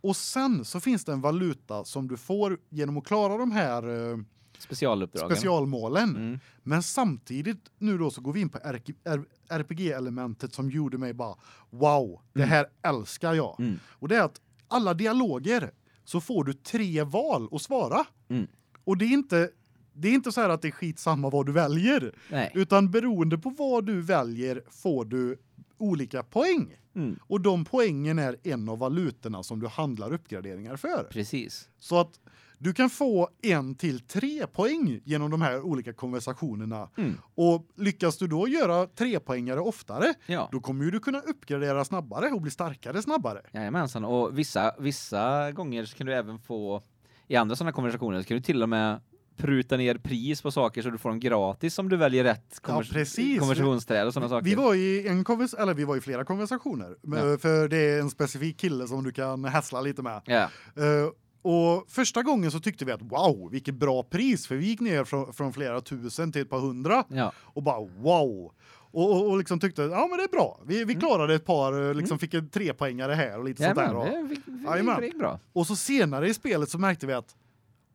Och sen så finns det en valuta som du får genom att klara de här eh,
Specialuppdragen.
specialmålen.
Mm.
Men samtidigt nu då så går vi in på RK R- RPG-elementet som gjorde mig bara wow, det
Mm.
här älskar jag.
Mm.
Och det är att alla dialoger så får du tre val att svara.
Mm.
Och det är inte det är inte så här att det är skitsamma vad du väljer,
Nej.
utan beroende på vad du väljer får du olika poäng.
Mm.
Och de poängen är en av valutorna som du handlar uppgraderingar för.
Precis.
Så att du kan få en till tre poäng genom de här olika konversationerna.
Mm.
Och lyckas du då göra tre poängare oftare,
Ja.
då kommer ju du kunna uppgradera snabbare och bli starkare snabbare.
Jajamensan, och vissa, vissa gånger så kan du även få, i andra sådana konversationer, så kan du till och med pruta ner pris på saker så du får dem gratis om du väljer rätt konvers-
precis.
konversationsträd och sådana saker.
Vi var i en konvers eller vi var i flera konversationer men- för det är en specifik kille som du kan hässla lite med.
Ja,
Eh, och första gången så tyckte vi att wow, vilket bra pris för vi gick ner från från flera tusen till ett par hundra.
ja,
och bara wow. Och och, och liksom tyckte ja men det är bra. Vi vi klarade ett par eh, liksom fick en trepoängare här och lite
Mm. ja
sånt där.
men,
Och,
det, fick- fick-
Jajamän.
det gick bra.
och så senare i spelet så märkte vi att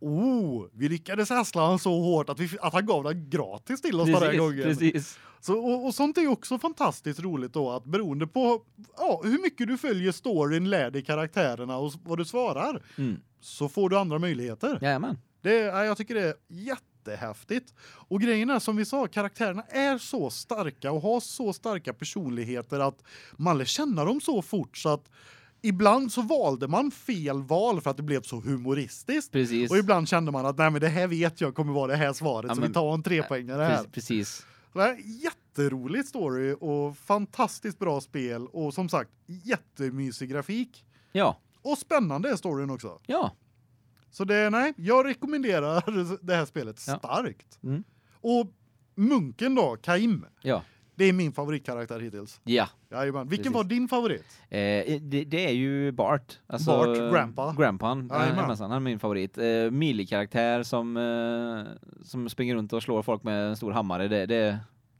oh, vi lyckades häsla han så hårt att vi att han gav den gratis till oss den här gången.
precis.
Så och, och sånt är ju också fantastiskt roligt då att beroende på ja, hur mycket du följer storyn, lär dig karaktärerna och s- vad du svarar
Mm.
så får du andra möjligheter.
Jajamän,
Det ja, jag tycker det är jättehäftigt. Och grejerna som vi sa karaktärerna är så starka och har så starka personligheter att man lär känna dem så fort så att ibland så valde man fel val för att det blev så humoristiskt.
precis.
Och ibland kände man att nej men det här vet jag kommer vara det här svaret
Ja,
så
men-
vi tar en trepoängare här.
Precis, precis.
Det här är jätterolig story och fantastiskt bra spel och som sagt jättemysig grafik
Ja,
och spännande är storyn också.
ja,
Så det nej, jag rekommenderar det här spelet
Ja.
starkt.
Mm.
Och munken då, Kaim.
ja.
Det är min favoritkaraktär hittills.
Ja.
Jajamän. Vilken
Precis.
var din favorit?
Eh, det, det är ju Bart. Alltså,
Bart, Grandpa.
Grandpan.
Jajamän.
Jajamensan, han är min favorit. Eh, Mili-karaktär som, eh, som springer runt och slår folk med en stor hammare. Det, det,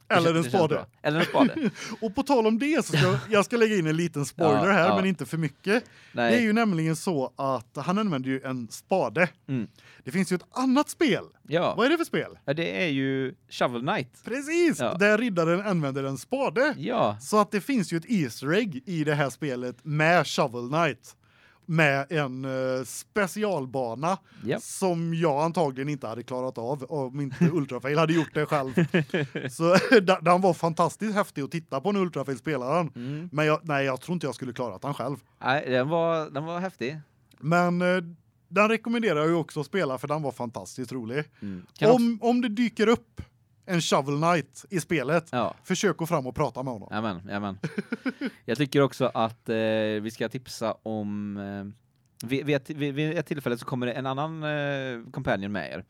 det
Eller
kän-
en
det känns
spade.
bra. Eller en spade.
Och på tal om det så ska jag, jag ska lägga in en liten spoiler
Ja,
här,
ja.
men inte för mycket.
Nej.
Det är ju nämligen så att han använder ju en spade.
Mm.
Det finns ju ett annat spel.
Ja.
Vad är det för spel?
ja, det är ju Shovel Knight.
Precis,
Ja.
där riddaren använder en spade.
Ja,
Så att det finns ju ett Easter egg i det här spelet med Shovel Knight med en eh, specialbana
Japp.
som jag antagligen inte hade klarat av om inte Ultrafail hade gjort det själv. Så d- den var fantastiskt häftig att titta på när Ultrafail spelade den.
Mm.
Men jag, nej, jag tror inte jag skulle klarat den själv.
Nej, den var, den var häftig.
Men eh, den rekommenderar jag ju också att spela för den var fantastiskt rolig.
Mm. Kan också-
Om, om det dyker upp en Shovel Knight i spelet,
Ja.
försök gå fram och prata med honom.
Jajamän, jajamän. Jag tycker också att eh, vi ska tipsa om... Eh, vid, vid, ett- vid, vid ett tillfälle så kommer det en annan eh, companion med er.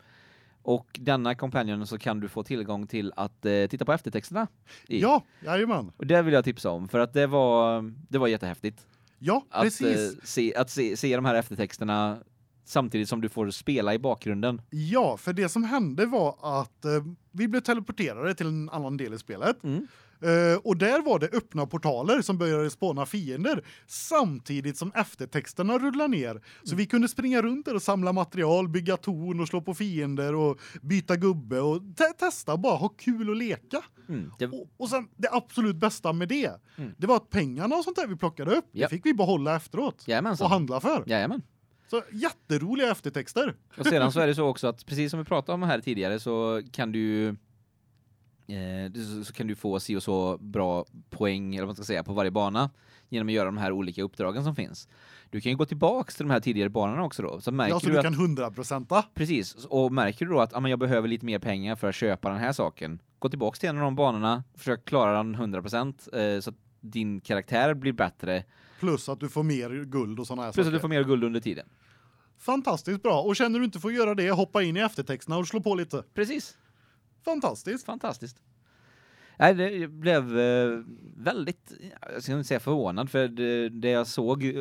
Och denna companion så kan du få tillgång till att eh, titta på eftertexterna. i.
Ja, jajamän.
Och det vill jag tipsa om, för att det var, det var jättehäftigt.
Ja,
Att,
precis.
eh, se, att se, se de här eftertexterna samtidigt som du får spela i bakgrunden.
Ja, för det som hände var att eh, vi blev teleporterade till en annan del i spelet.
Mm.
Eh, och där var det öppna portaler som började spåna fiender samtidigt som eftertexterna rullade ner. Så vi kunde springa runt där och samla material, bygga torn och slå på fiender och byta gubbe och te- testa bara ha kul och leka.
Mm. Det,
Och, och sen det absolut bästa med det,
Mm.
det var att pengarna och sånt där vi plockade upp,
Ja.
det fick vi behålla efteråt och
jajamensan.
handla för.
Jajamän.
Så jätteroliga eftertexter.
Och sedan så är det så också att precis som vi pratade om här tidigare så kan du ju, eh, du- så- så kan du få si och så bra poäng eller vad man ska säga på varje bana genom att göra de här olika uppdragen som finns. Du kan ju gå tillbaks till de här tidigare banorna också då. Så märker
Ja, så
du,
Alltså, du
att,
kan hundraprocenta.
precis och märker du då att ah, men jag behöver lite mer pengar för att köpa den här saken. Gå tillbaks till en av de banorna, försök klara den 100 eh, så att din karaktär blir bättre
Plus att du får mer guld och såna här
plus
saker.
att du får mer guld under tiden.
Fantastiskt bra. Och känner du inte får göra det, hoppa in i eftertexterna och slå på lite.
Precis.
Fantastiskt.
Fantastiskt. Nej, det jag blev eh, väldigt, jag ska inte säga förvånad, för det, det jag såg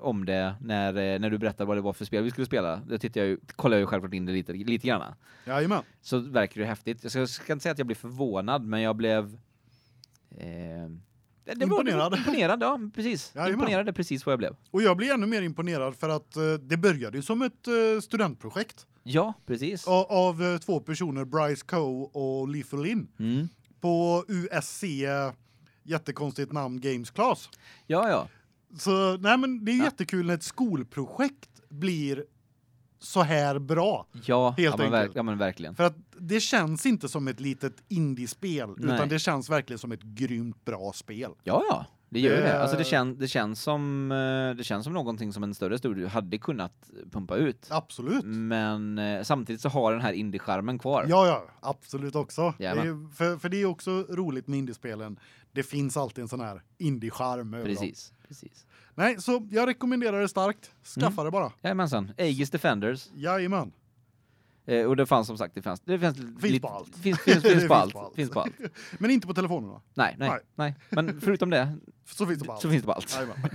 om det när, eh, när du berättade vad det var för spel vi skulle spela, då tittade jag ju, kollade jag ju självklart in det lite, lite grann.
Jajamän.
Så verkar det häftigt. Jag ska, jag ska inte säga att jag blev förvånad, men jag blev... Eh, det- det var-
Imponerad.
Imponerad, ja, precis.
Jajamän.
Imponerad är precis vad jag blev.
Och jag blir ännu mer imponerad för att eh, det började ju som ett eh, studentprojekt
Ja, precis.
av, av eh, två personer, Bryce Coe och Leif Lin
Mm.
på USC, eh, jättekonstigt namn, Games Class.
Ja, ja.
Så nej men det är
Ja.
jättekul när ett skolprojekt blir så här bra.
Ja, ja,
Helt
men, verk,
enkelt.
ja men verkligen.
För att det känns inte som ett litet indiespel
Nej.
utan det känns verkligen som ett grymt bra spel.
Ja, ja. Det gör ju
Det
det. Alltså det,
är-
kän, det, känns som, eh, det känns som någonting som en större studio hade kunnat pumpa ut.
Absolut.
Men eh, samtidigt så har den här indie-charmen kvar.
Ja ja, absolut också. Det
Jajamän.
är, för för det är också roligt med indiespelen. Det finns alltid en sån här indie charm över dem.
precis. precis.
Nej, så jag rekommenderar det starkt. Skaffa
Mm.
det bara.
Jajamensan. Aegis Defenders.
Jajamän.
Eh, och det fanns som sagt, det fanns... Det fanns
Finns på allt.
Finns, finns,
Det
finns på allt. Finns på allt.
Men inte på telefonerna.
Nej, nej, nej,
Nej.
Men förutom det
Så finns det på allt.
så finns det på allt.
Jajamän.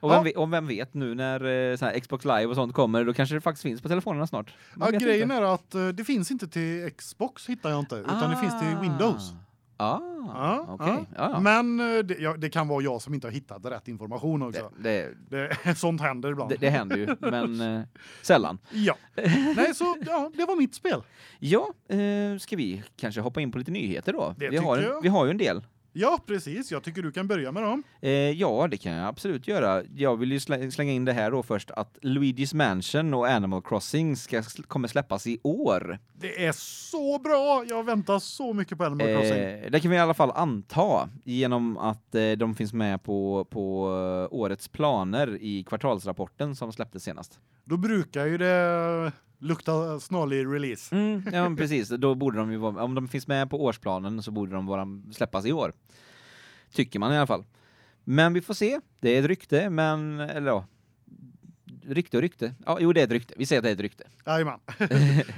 Och
Ja.
vem, vet, och vem vet nu när eh, sån här Xbox Live och sånt kommer, då kanske det faktiskt finns på telefonerna snart. Man
Ja,
vet
grejen
inte.
är att eh, det finns inte till Xbox hittar jag inte, utan det finns till Windows.
Ah,
Ja,
okej. Ja, ja.
Men eh, det, ja, det kan vara jag som inte har hittat rätt information också.
Det, det,
Det, sånt händer ibland.
Det, det händer ju, men eh, sällan.
Ja. Nej, så ja, det var mitt spel.
Ja, eh, ska vi kanske hoppa in på lite nyheter då?
Det
vi, har
tycker
en,
jag.
vi har ju en del.
Ja, precis. Jag tycker du kan börja med dem.
Eh, ja, det kan jag absolut göra. Jag vill ju slä, slänga in det här då först, att Luigi's Mansion och Animal Crossing ska, sl- kommer släppas i år.
Det är så bra! Jag väntar så mycket på Animal Crossing.
Eh, det kan vi i alla fall anta genom att eh, de finns med på, på eh, årets planer i kvartalsrapporten som släpptes senast.
Då brukar ju det lukta snarlig release.
Mm, ja, men precis. Då borde de ju vara, om de finns med på årsplanen så borde de vara, släppas i år. Tycker man i alla fall. Men vi får se. Det är ett rykte, men eller ja. rykte och rykte. Ja, jo, det är ett rykte. Vi säger att det är ett rykte.
Jajamän.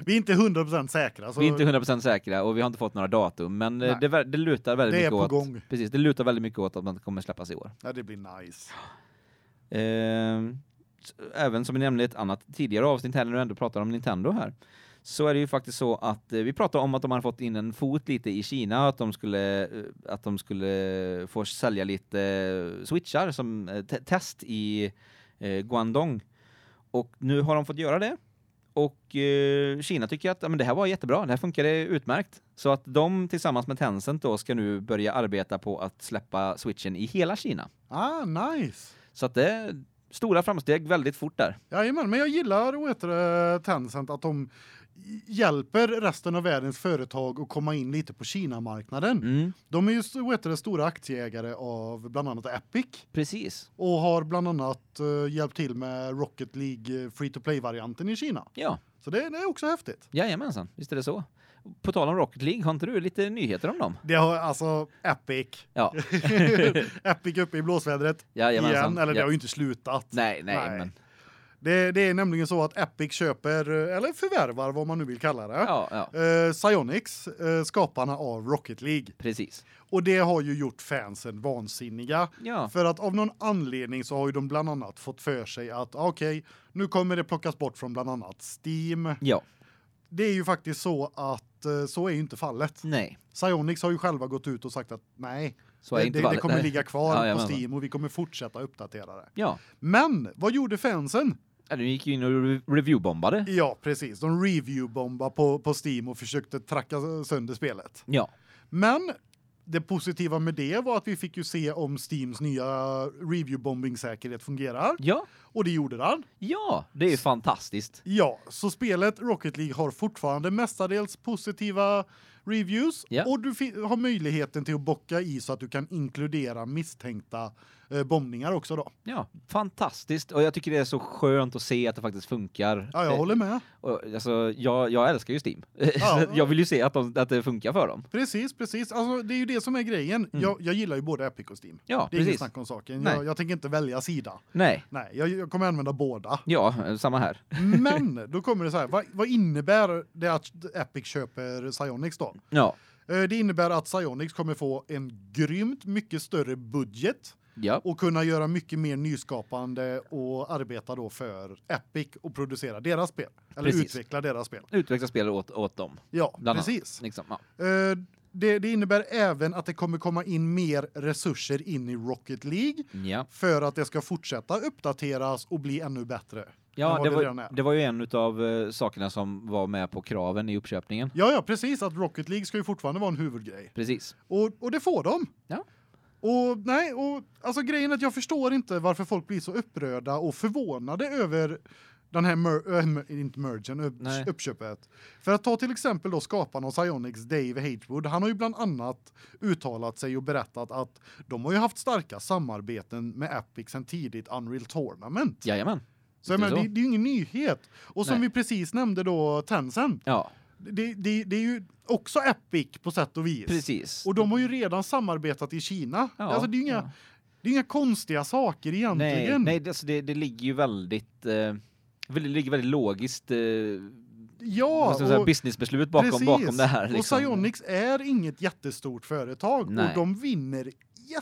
vi är inte 100% säkra. Så
Vi är inte 100% säkra och vi har inte fått några datum, men eh,
Nej.
det, ver- det lutar väldigt
Det är
mycket
på
åt.
gång.
Precis, det lutar väldigt mycket åt att man kommer släppas i år.
ja, det blir nice.
Ehm, s- även som vi nämnde i ett annat tidigare avsnitt här när du ändå pratar om Nintendo här, så är det ju faktiskt så att eh, vi pratade om att de har fått in en fot lite i Kina, att de skulle, eh, att de skulle få sälja lite eh, switchar som eh, te- test i eh, Guangdong. Och nu har de fått göra det. Och eh, Kina tycker att ja, men det här var jättebra, det här funkade utmärkt. Så att de tillsammans med Tencent då ska nu börja arbeta på att släppa switchen i hela Kina.
Ah, nice.
Så att det är stora framsteg väldigt fort där.
Jajamän, men jag gillar vad heter det, Tencent att de hjälper resten av världens företag att komma in lite på Kina-marknaden.
Mm.
De är ju vad heter det, stora aktieägare av bland annat Epic
Precis.
och har bland annat eh, hjälpt till med Rocket League eh, free to play-varianten i Kina.
Ja,
Så det, det är också häftigt.
jajamensan. Visst är det så. På tal om Rocket League, har inte du lite nyheter om dem?
Det har alltså Epic.
Ja,
Epic uppe i blåsvädret igen,
jajamensan.
eller det
ja.
har ju inte slutat.
Nej, nej,
Nej.
men
Det, det är nämligen så att Epic köper, eh, eller förvärvar vad man nu vill kalla det.
ja, ja,
Eh, Psyonix, eh, skaparna av Rocket League.
precis.
Och det har ju gjort fansen vansinniga.
Ja,
För att av någon anledning så har ju de bland annat fått för sig att ah, okej, nu kommer det plockas bort från bland annat Steam.
ja,
Det är ju faktiskt så att eh, så är ju inte fallet.
nej.
Psyonix har ju själva gått ut och sagt att nej,
Så är
det,
inte
det, det
fallet.
kommer
Nej.
ligga kvar på
Jajamensan.
Steam och vi kommer fortsätta uppdatera det.
Ja,
Men vad gjorde fansen?
Ja, du gick ju in och re- reviewbombade.
Ja, precis. De reviewbombade på, på Steam och försökte tracka sönder spelet.
Ja,
Men det positiva med det var att vi fick ju se om Steams nya review-bombing-säkerhet fungerar.
ja,
Och det gjorde den.
ja, det är ju fantastiskt.
Ja, så spelet Rocket League har fortfarande mestadels positiva reviews.
Ja.
Och du fi- har möjligheten till att bocka i så att du kan inkludera misstänkta eh, bombningar också då.
Ja, fantastiskt. Och jag tycker det är så skönt att se att det faktiskt funkar.
Ja, jag
Eh,
håller med.
och, alltså, jag, jag älskar ju Steam.
Ja.
Så jag vill ju se att, de, att det funkar för dem.
Precis, precis. Alltså, det är ju det som är grejen.
Mm.
Jag, jag gillar ju både Epic och Steam.
Ja,
Det är inget
precis.
snack om saken.
Nej.
Jag, jag tänker inte välja sida.
Nej,
Nej, jag, jag kommer använda båda.
ja, eh, samma här.
Men då kommer det så här, vad, vad innebär det att Epic köper Psyonix då?
Ja.
Eh, Det innebär att Psyonix kommer få en grymt mycket större budget
Ja.
och kunna göra mycket mer nyskapande och arbeta då för Epic och producera deras spel. Eller
Precis.
utveckla deras spel.
Utveckla spel åt, åt dem.
Ja,
Bland annat.
precis.
Liksom. Ja.
Eh, Det, det innebär även att det kommer komma in mer resurser in i Rocket League
Ja,
för att det ska fortsätta uppdateras och bli ännu bättre. än
ja
vad
det,
redan är.
var, det var ju en av sakerna som var med på kraven i uppköpningen.
Ja, ja, precis. Att Rocket League ska ju fortfarande vara en huvudgrej.
Precis.
Och, och det får de.
Ja.
Och nej, och alltså grejen är att jag förstår inte varför folk blir så upprörda och förvånade över den här mer, äh, mer- inte mergen, upp,
Nej.
uppköpet. För att ta till exempel då skaparen av Psyonix, Dave Hatewood, han har ju bland annat uttalat sig och berättat att de har ju haft starka samarbeten med Epic sedan tidigt Unreal Tournament.
Jajamän.
så jag
det är
menar,
så.
det, det är ju ingen nyhet. Och som
Nej.
vi precis nämnde då, Tencent,
Ja,
det, det, det är ju också Epic på sätt och vis.
precis.
Och de har ju redan samarbetat i Kina.
Ja,
alltså det är ju inga
ja.
det är inga konstiga saker
Nej,
egentligen.
nej det, alltså det, det ligger ju väldigt... Eh, det ligger väldigt logiskt eh,
Ja,
vad ska man säga,
och
businessbeslut bakom, bakom det här.
Och
Liksom.
Psyonix är inget jättestort företag och
Nej.
de vinner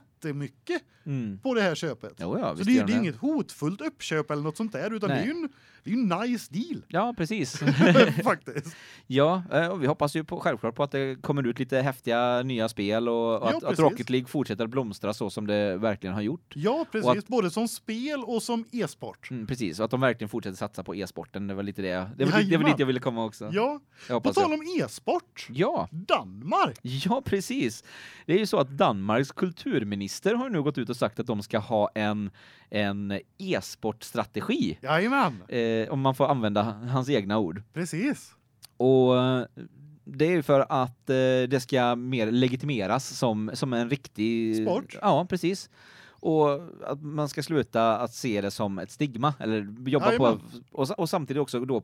jättemycket
Mm.
på det här köpet.
Jo, ja,
Så
visst
det är ju
gör
det
de
är inget hotfullt uppköp eller något sånt där utan
Nej.
det är ju en det är ju en nice deal
Ja, precis.
faktiskt.
ja, eh, och vi hoppas ju på, självklart på att det kommer ut lite häftiga nya spel och, och
Ja,
att, att
precis.
Rocket League fortsätter att blomstra så som det verkligen har gjort.
Ja,
Och
precis,
att-
både som spel och som e-sport.
Mm, precis, och att de verkligen fortsätter satsa på e-sporten. Det var lite det, jag- det, var, dit- det var
Jajamän.
dit jag ville komma också.
Ja,
Jag
på
hoppas
tal
det.
om e-sport.
Ja,
Danmark.
ja precis. Det är ju så att Danmarks kulturminister har ju nu gått ut och sagt att de ska ha en, en e-sportstrategi.
Jajamän,
Eh, om man får använda hans egna ord.
precis.
Och eh, det är ju för att eh, det ska mer legitimeras som, som en riktig...
Sport.
Ja, precis. Och att man ska sluta att se det som ett stigma, eller jobba på...
Jajamän.
Och, sa- och samtidigt också då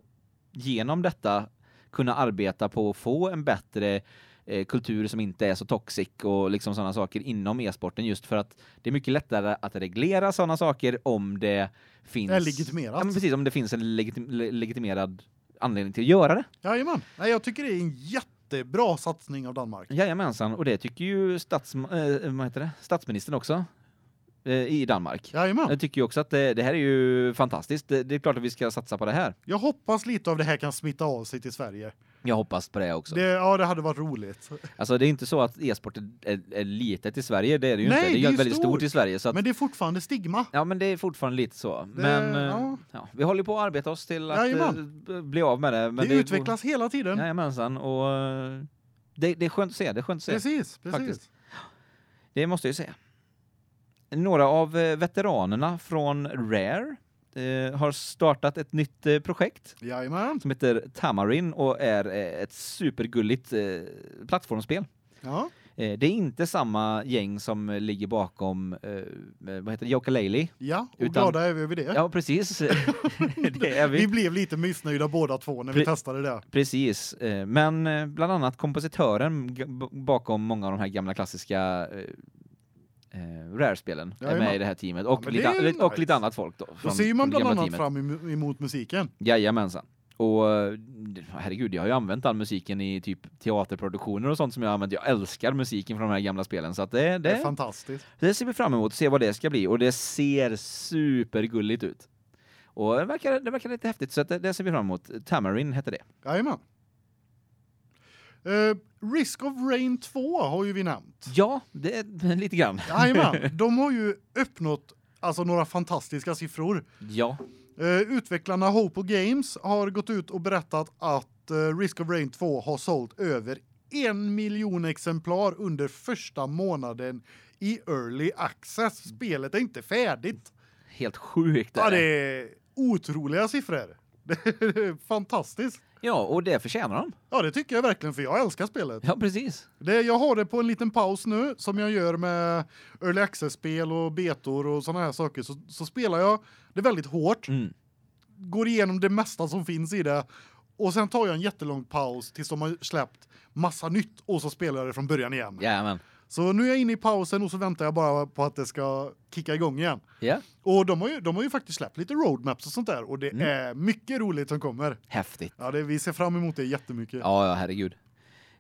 genom detta kunna arbeta på att få en bättre eh, kultur som inte är så toxic och liksom sådana saker inom e-sporten just för att det är mycket lättare att reglera sådana saker om det finns...
Det är legitimerat.
Ja, men precis, om det finns en legitim, le- legitimerad anledning till att göra det.
Jajamän. Nej, jag tycker det är en jättebra satsning av Danmark.
Mm. Jajamensan, och det tycker ju stats, eh, vad heter det? statsministern också eh, i Danmark.
Jajamän.
Jag tycker ju också att det, det här är ju fantastiskt. Det, det är klart att vi ska satsa på det här.
Jag hoppas lite av det här kan smitta av sig till Sverige.
Jag hoppas på det också.
Det,
Det...
ja, det hade varit roligt.
Alltså det är inte så att e-sport är, är, är litet i Sverige, det är det ju
Nej,
inte.
det är
ju väldigt
stort.
stort i Sverige så att,
Men det är fortfarande stigma.
Ja, men det är fortfarande lite så. Men eh,
ja.
ja. vi håller på att arbeta oss till att
Jajamän.
eh, bli av med det. Men
det, utvecklas hela tiden.
Jajamensan, och eh, det, det är skönt att se. Det är skönt att se.
precis, precis.
faktiskt. Det måste jag ju säga. Några av eh, veteranerna från Rare eh, har startat ett nytt eh, projekt
Jajamän.
som heter Tamarin och är eh, ett supergulligt eh, plattformsspel.
Ja.
Eh, det är inte samma gäng som eh, ligger bakom eh, vad heter det? Yooka-Laylee.
Ja, och
Utan-
glada är vi över det.
Ja, precis. det är
Vi
vi.
blev lite missnöjda båda två när vi
Pre-
testade det.
Precis. Eh, Men eh, bland annat kompositören g- b- bakom många av de här gamla klassiska eh, eh, Rare-spelen är
Jajamän.
med i det här teamet och,
men
lite,
det är
an- och
nice.
lite annat folk då.
Då
från-
ser ju
från det
man bland
gamla
annat
teamet.
fram emo- emot musiken.
Jajamensan. Och eh, herregud, jag har ju använt all musiken i typ teaterproduktioner och sånt som jag har använt. Jag älskar musiken från de här gamla spelen så att det,
Det är
det,
fantastiskt.
det ser vi fram emot att se vad det ska bli och det ser supergulligt ut. Och det verkar, det verkar lite häftigt så att det, det ser vi fram emot. Tamarin hette det.
Jajamän. Eh, Risk of Rain 2 har ju vi nämnt.
Ja, det är lite grann.
Jajamän, de har ju uppnått alltså några fantastiska siffror.
Ja.
Eh, utvecklarna Hopo Games har gått ut och berättat att eh, Risk of Rain 2 har sålt över en miljon exemplar under första månaden i Early Access. Spelet är inte färdigt.
Helt sjukt
Ja,
är
det
det.
är otroliga siffror. Det är fantastiskt.
Ja, och det förtjänar de.
Ja, det tycker jag verkligen för jag älskar spelet.
Ja, precis.
Det, jag har det på en liten paus nu som jag gör med early access-spel och betor och såna här saker så, så spelar jag det väldigt hårt,
Mm.
går igenom det mesta som finns i det och sen tar jag en jättelång paus tills de har släppt massa nytt och så spelar jag det från början igen.
Jajamän.
Så nu är jag inne i pausen och så väntar jag bara på att det ska kicka igång igen.
Ja.
Och de har ju de har ju faktiskt släppt lite roadmaps och sånt där och det
Mm.
är mycket roligt som kommer.
Häftigt.
Ja, det vi ser fram emot det jättemycket.
Ja, ja, herregud.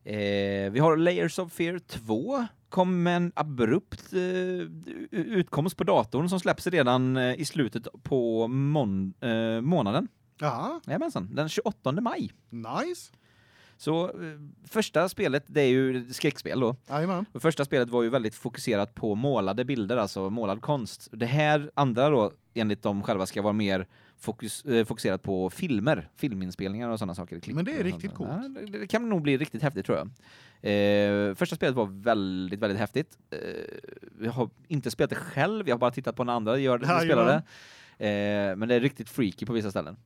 Eh, vi har Layers of Fear 2. Kom med en abrupt eh, u- utkomst på datorn som släpps redan eh, i slutet på mån- eh, månaden.
Jaha,
Jajamensan, den 28 maj.
nice.
Så eh, första spelet, det är ju skräckspel då.
Jajamän.
Och första spelet var ju väldigt fokuserat på målade bilder, alltså målad konst. Det här andra då, enligt dem själva, ska vara mer fokus, eh, fokuserat på filmer, filminspelningar och sådana saker. klipp
Men det är
och
riktigt
sånt.
coolt.
Ja, det, det kan nog bli riktigt häftigt tror jag. Eh, första spelet var väldigt, väldigt häftigt. Eh, jag har inte spelat det själv, jag har bara tittat på när andra gör det,
Jajamän.
spelar det. Eh, men det är riktigt freaky på vissa ställen.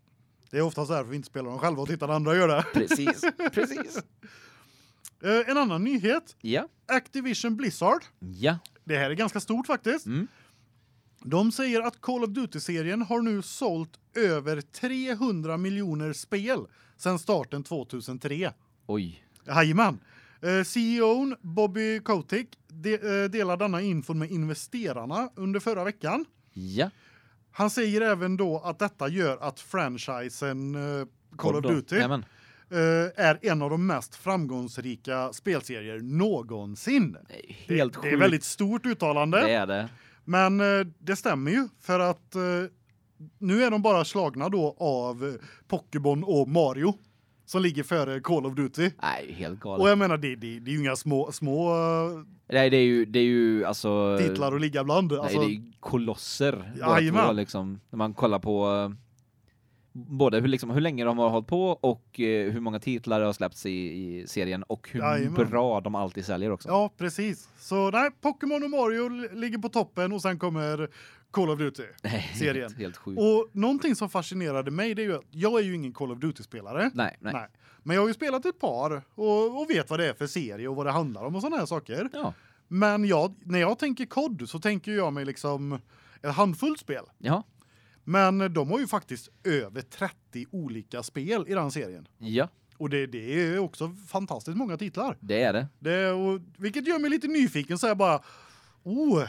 Det är oftast därför vi inte spelar dem själva och tittar när andra gör det.
Precis, precis.
Eh, en annan nyhet.
Ja,
Activision Blizzard.
ja.
Det här är ganska stort faktiskt.
Mm.
De säger att Call of Duty-serien har nu sålt över 300 miljoner spel sedan starten 2003.
Oj.
Jajamän. Eh, CEOn Bobby Kotick de, eh, delar denna infon med investerarna under förra veckan.
Ja.
Han säger även då att detta gör att franchisen eh, Call
Kom
of
då.
Duty
Jajamän.
eh, är en av de mest framgångsrika spelserier någonsin.
Det är
Det-
Helt
det är
sjukt.
väldigt stort uttalande,
Det är det.
men eh, det stämmer ju för att eh, nu är de bara slagna då av eh, Pokémon och Mario som ligger före Call of Duty.
Nej, helt galet.
Och jag menar det det, det är ju inga små små eh,
Nej, det är ju, det är ju alltså...
titlar att ligga bland alltså.
Nej, det är ju kolosser.
Jajamän.
båda två, liksom. När man kollar på eh, både hur, liksom, hur länge de har hållit på och eh, hur många titlar det har släppts i, i serien och hur
Jajamän.
bra de alltid säljer också.
Ja, precis. Så nej, Pokémon och Mario li- ligger på toppen och sen kommer Call of Duty. serien.
helt, helt sjukt.
Och någonting som fascinerade mig det är ju att jag är ju ingen Call of Duty-spelare.
Nej, nej.
Nej. Men jag har ju spelat ett par och, och vet vad det är för serie och vad det handlar om och sådana här saker.
Ja,
Men jag, när jag tänker COD så tänker jag mig liksom ett handfullt spel.
ja,
Men de har ju faktiskt över 30 olika spel i den serien.
ja.
Och det, det är också fantastiskt många titlar.
Det är det.
Det, och, vilket gör mig lite nyfiken så jag bara oh,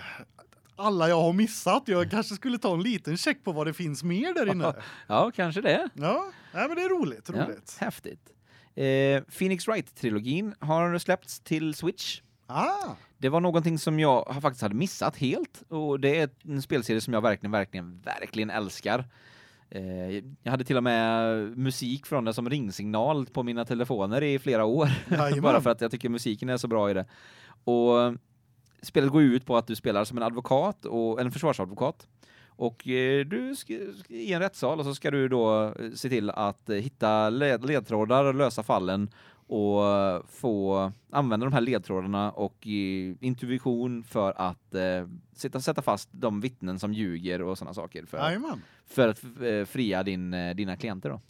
alla jag har missat. Jag kanske skulle ta en liten check på vad det finns mer där inne.
Ja, kanske det.
Ja, nej, men det är roligt,
Ja,
roligt.
häftigt. Eh, Phoenix Wright-trilogin har släppts till Switch.
Ah,
Det var någonting som jag har faktiskt hade missat helt och det är en spelserie som jag verkligen, verkligen, verkligen älskar. Eh, jag hade till och med musik från den som ringsignal på mina telefoner i flera år.
jajamän.
Bara för att jag tycker musiken är så bra i det. Och eh, spelet går ju ut på att du spelar som en advokat och en försvarsadvokat. Och eh, du ska, ska- i en rättssal och så ska du då eh, se till att eh, hitta led, ledtrådar och lösa fallen och eh, få använda de här ledtrådarna och eh, intuition för att eh, sätta, sätta fast de vittnen som ljuger och sådana saker för,
Jajamän.
för att eh, fria din, eh, dina klienter då.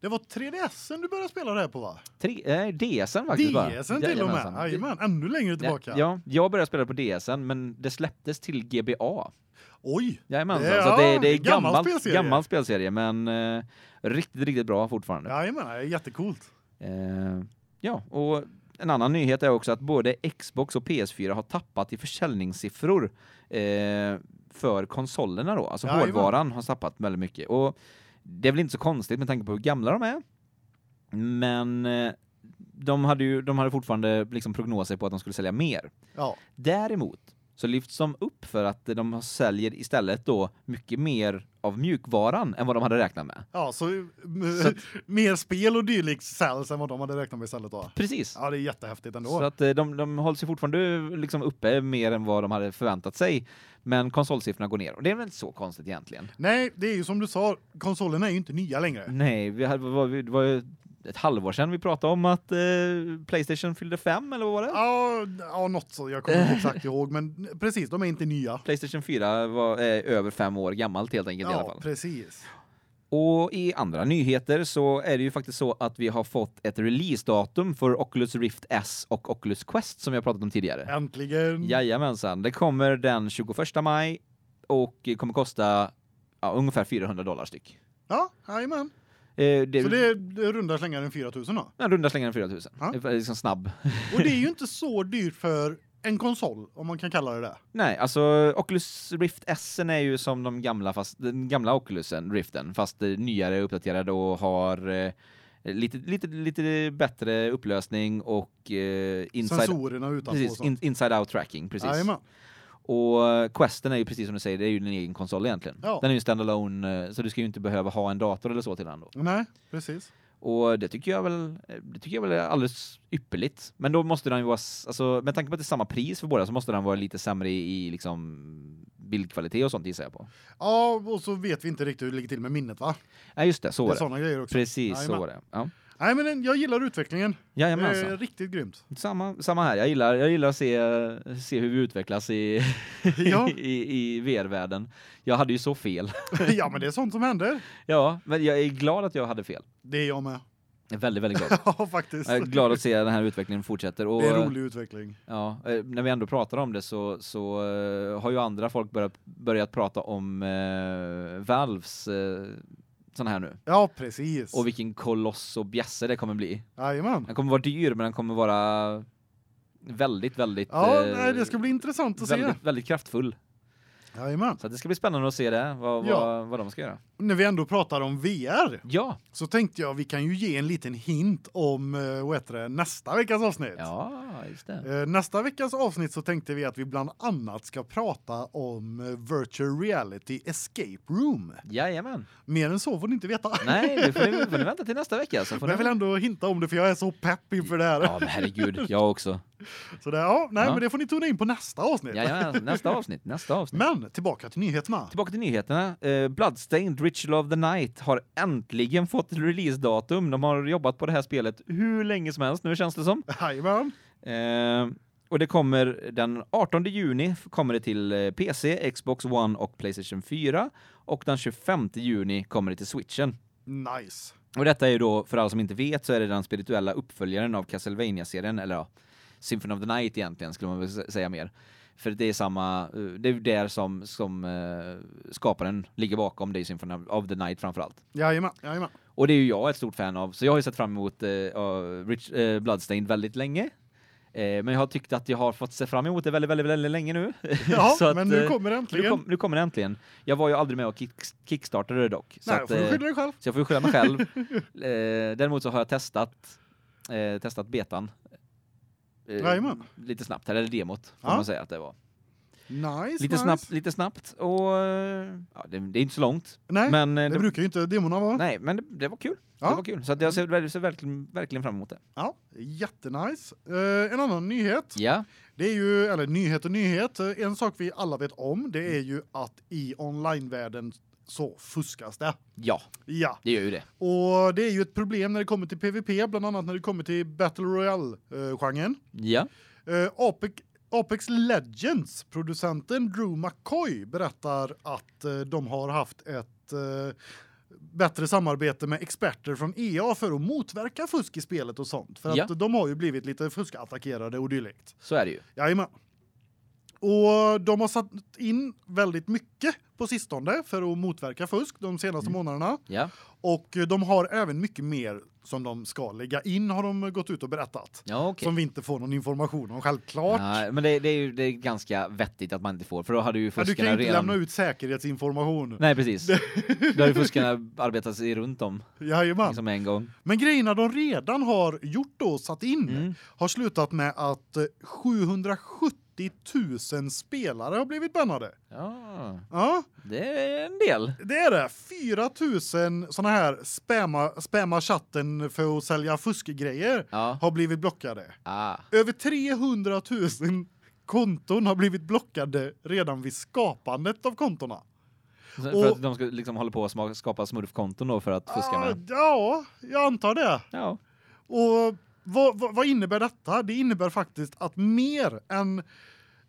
Det var 3DSen du började spela det här på va?
Tre, eh, DSen faktiskt bara.
DSen till och med.
Jajamensan.
Jajamän, ännu längre tillbaka.
Ja, jag började spela på DSen men det släpptes till GBA.
Oj,
Jajamensan,
Det-
så att det,
ja,
det är
en gammal
gammal
spelserie.
gammal spelserie men eh, riktigt riktigt bra fortfarande.
jajamän, det är jättecoolt.
Eh, ja, och en annan nyhet är också att både Xbox och PS4 har tappat i försäljningssiffror eh, för konsolerna då. Alltså
Jajamän.
hårdvaran har tappat väldigt mycket. Och det är väl inte så konstigt med tanke på hur gamla de är. Men eh, de hade ju de hade fortfarande liksom prognoser på att de skulle sälja mer.
Ja,
Däremot så lyfts de upp för att de säljer istället då mycket mer av mjukvaran än vad de hade räknat med.
ja så, m-
Så
mer spel och dylikt säljs än vad de hade räknat med istället då.
Precis.
Ja, det är jättehäftigt ändå.
Så att eh, de, de håller sig fortfarande liksom uppe mer än vad de hade förväntat sig. Men konsolsiffrorna går ner. Och det är väl inte så konstigt egentligen.
Nej, det är ju som du sa, konsolerna är ju inte nya längre.
Nej, vi hade, var, vi- det var ju ett halvår sedan vi pratade om att eh, Playstation fyllde fem, eller vad var det?
Ja, ja något så. Jag kommer inte exakt ihåg, men precis, de är inte nya.
Playstation 4 var eh, över fem år gammalt helt enkelt i alla
Ja,
fall.
precis.
Och i andra nyheter så är det ju faktiskt så att vi har fått ett releasedatum för Oculus Rift S och Oculus Quest som vi har pratat om tidigare.
Mm. Äntligen.
Jajamensan, det kommer den 21 maj och kommer kosta ja, ungefär 400 dollar styck.
Ja, jajamän.
Eh, det,
Så det är det är runda slängar en 4000 då.
ja, runda slängar 4000.
Ja.
Det är Liksom snabb.
Och det är ju inte så dyrt för en konsol om man kan kalla det det.
Nej, alltså Oculus Rift S är ju som de gamla fast den gamla Oculusen, Riften, fast eh, nyare uppdaterad och har eh, lite lite lite bättre upplösning och eh, inside
Sensorerna utanpå och
precis
sånt.
in, inside out tracking precis.
Jajamän.
Och Questen är ju precis som du säger, det är ju en egen konsol egentligen.
Ja.
Den är ju standalone eh, så du ska ju inte behöva ha en dator eller så till den då.
Nej, precis.
Och det tycker jag väl eh, det tycker jag väl är alldeles ypperligt. Men då måste den ju vara s- alltså med tanke på att det är samma pris för båda så måste den vara lite sämre i, i liksom bildkvalitet och sånt gissar jag på.
Ja, och så vet vi inte riktigt hur det ligger till med minnet va?
Nej just det, så
Det
var
är
det.
såna grejer också.
Precis, så
Jajamän. Eh.
var det. Ja.
Nej, men den- jag gillar utvecklingen. Det är
Jajamensan.
riktigt grymt.
Samma samma här. Jag gillar jag gillar att se se hur vi utvecklas i
Ja.
i, i VR-världen. Jag hade ju så fel.
ja, men det är sånt som händer.
Ja, men jag är glad att jag hade fel.
Det är jag med.
Jag är väldigt väldigt glad.
ja, faktiskt.
Jag är glad att se den här utvecklingen fortsätter och
Det är en rolig utveckling.
Ja, eh, när vi ändå pratar om det så, så eh, har ju andra folk börjat, börjat prata om eh, Valves eh, sån här nu.
Ja, precis.
Och vilken koloss och bjässe det kommer bli.
Jajamän.
Den kommer vara dyr men den kommer vara väldigt, väldigt,
Ja,
eh,
nej, det ska bli intressant att se.
väldigt, väldigt kraftfull.
Jajamän.
Så att det ska bli spännande att se det, vad,
Ja.
vad, vad de ska göra.
När vi ändå pratar om VR
Ja,
så tänkte jag vi kan ju ge en liten hint om eh, vad heter det, nästa veckas avsnitt.
ja just det.
Eh, Nästa veckas avsnitt så tänkte vi att vi bland annat ska prata om eh, virtual reality escape room.
Jajamän.
Mer än så får ni inte veta.
Nej, det får ni, får ni vänta till nästa vecka. Så får
Men
ni...
jag vill ändå hinta om det för jag är så pepp inför det här.
Ja, men herregud, jag också.
Så det, ja, nej,
Ja.
men det får ni tona in på nästa avsnitt.
Jajamän, nästa avsnitt, nästa avsnitt.
Men tillbaka till nyheterna.
Tillbaka till nyheterna. Eh, Bloodstained Ritual of the Night har äntligen fått releasedatum. De har jobbat på det här spelet hur länge som helst nu känns det som.
Jajamän.
Eh, och det kommer den 18 juni f- kommer det till eh, PC, Xbox One och Playstation 4 och den 25 juni kommer det till Switchen.
Nice.
Och detta är ju då för alla som inte vet så är det den spirituella uppföljaren av Castlevania-serien eller ja, Symphony of the Night egentligen skulle man väl sä- säga mer. För det är samma eh, det är ju där som som eh, skaparen ligger bakom det är Symphony of the Night framförallt.
Jajamän, jajamän.
Och det är ju jag ett stort fan av, så jag har ju sett fram emot eh, av Rich, eh, Bloodstained väldigt länge. Eh, men jag har tyckt att jag har fått se fram emot det väldigt, väldigt, väldigt länge nu.
Ja,
Så att,
men nu
eh,
kommer det äntligen.
Nu, kom, nu kommer det äntligen. Jag var ju aldrig med och kick, kickstartade det dock. Så,
Nej,
att,
får du
eh,
skylla dig själv.
så jag får ju skylla mig själv. eh, däremot så har jag testat, eh, testat betan. Eh,
Jajamän.
lite snabbt, här, eller demot får
Ja.
man säga att det var.
Nice,
Lite
nice.
snabbt, lite snabbt och eh, ja, det, det är inte så långt.
Nej,
men, eh,
det
det-
brukar ju inte demorna vara.
Nej, men det, det var kul.
Ja.
Det var kul. Så att jag ser, ver- ser verkligen, verkligen fram emot det.
Ja, jättenice. Eh, en annan nyhet.
Ja.
Det är ju, eller nyhet och nyhet. Eh, En sak vi alla vet om, det är ju att i onlinevärlden så fuskas det.
Ja,
Ja,
det gör ju det.
och det är ju ett problem när det kommer till PVP, bland annat när det kommer till Battle Royale-genren.
Ja.
Eh, Apex, Apex Legends producenten Drew McCoy berättar att eh, de har haft ett eh, bättre samarbete med experter från EA för att motverka fusk i spelet och sånt för
Ja.
att de har ju blivit lite fuskattackerade och dylikt.
Så är det ju.
Jajamän. Och de har satt in väldigt mycket på sistone för att motverka fusk de senaste
Mm.
månaderna
Ja.
och eh, de har även mycket mer som de ska lägga in har de gått ut och berättat.
Ja, okej.
Som vi inte får någon information om självklart.
Nej, men det, det är ju det är ganska vettigt att man inte får, för då hade ju
Ja,
fuskarna
du kan ju inte
redan...
lämna ut säkerhetsinformation.
Nej, precis. då har ju fuskarna arbetat sig runt om,
Jajamän.
liksom en gång.
Men grejerna de redan har gjort och satt in
Mm.
har slutat med att eh, 770 000 spelare har blivit bannade.
Ja,
Ja,
det är en del.
det är det. 4 000 såna här spamma, spamma chatten för att sälja fuskgrejer
Ja.
har blivit blockade.
Ah.
Över 300 000 konton har blivit blockade redan vid skapandet av kontona.
Så- För
Och-
att de ska liksom hålla på och sma- skapa smurfkonton då för att fuska med
Ah,
dem.
ja, jag antar det.
Ja.
Och vad, vad, vad innebär detta? Det innebär faktiskt att mer än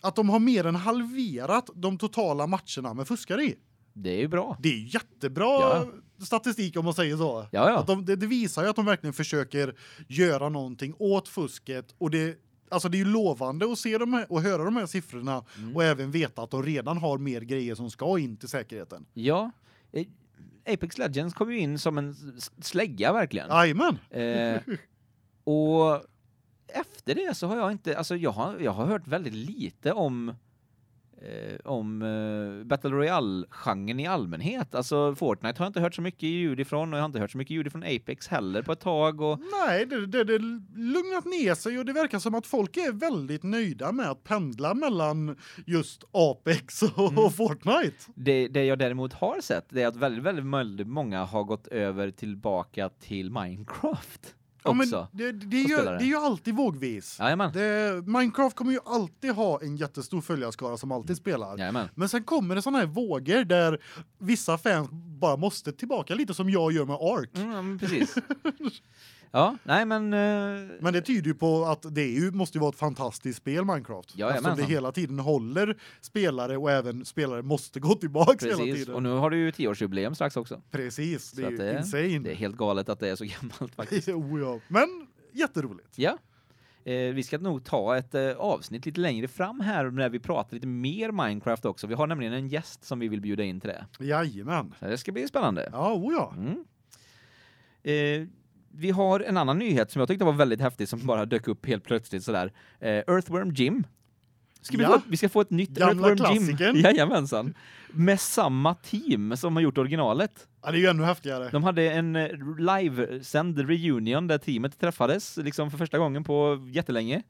att de har mer än halverat de totala matcherna med fuskare i.
Det är ju bra.
Det är jättebra
Ja.
statistik om man säger så.
Ja, ja.
Att de, det, det visar ju att de verkligen försöker göra någonting åt fusket och det Alltså det är ju lovande att se de här, och höra de här siffrorna och även veta att de redan har mer grejer som ska in till säkerheten.
Ja. Eh, Apex Legends kom ju in som en s- slägga verkligen.
Jajamän!
Eh, och efter det så har jag inte, alltså jag har, jag har hört väldigt lite om eh, om eh, Battle Royale-genren i allmänhet. Alltså Fortnite har jag inte hört så mycket ljud ifrån och jag har inte hört så mycket ljud ifrån Apex heller på ett tag och
Nej, det, det, det lugnat ner sig och det verkar som att folk är väldigt nöjda med att pendla mellan just Apex och, och Fortnite.
det, det jag däremot har sett det är att väldigt, väldigt, väldigt många har gått över tillbaka till Minecraft
Ja, men
också.
det, det, det, är ju,
spelare.
det är ju alltid vågvis.
Jajamän,
Det, Minecraft kommer ju alltid ha en jättestor följarskara som alltid spelar.
jajamän.
Men sen kommer det såna här vågor där vissa fans bara måste tillbaka lite som jag gör med Ark.
Mm, ja, men precis. Ja, nej men... eh,
Men det tyder ju på att det är ju, måste ju vara ett fantastiskt spel Minecraft.
Ja,
eftersom det
jajamensan.
hela tiden håller spelare och även spelare måste gå tillbaks hela
Precis,
tiden.
och nu har du ju tioårsjubileum strax också.
Precis, det
Så
är
att
ju
det-
insane.
Det är helt galet att det är så gammalt faktiskt.
oh, ja. Men jätteroligt.
Ja. Eh, vi ska nog ta ett eh, avsnitt lite längre fram här när vi pratar lite mer Minecraft också. Vi har nämligen en gäst som vi vill bjuda in till det.
Jajamän.
Så det ska bli spännande.
Ja, oh, ja.
Mm. Eh, vi har en annan nyhet som jag tyckte var väldigt häftig som bara dök upp helt plötsligt sådär. Eh, Earthworm Jim. Ska vi,
Ja.
få, ett- vi ska få ett nytt
Gamla
Earthworm
klassikern.
Jim. Jajamensan. Med samma team som har gjort originalet.
ja. Det är ju ännu häftigare.
De hade en eh, livesänd reunion där teamet träffades liksom för första gången på jättelänge.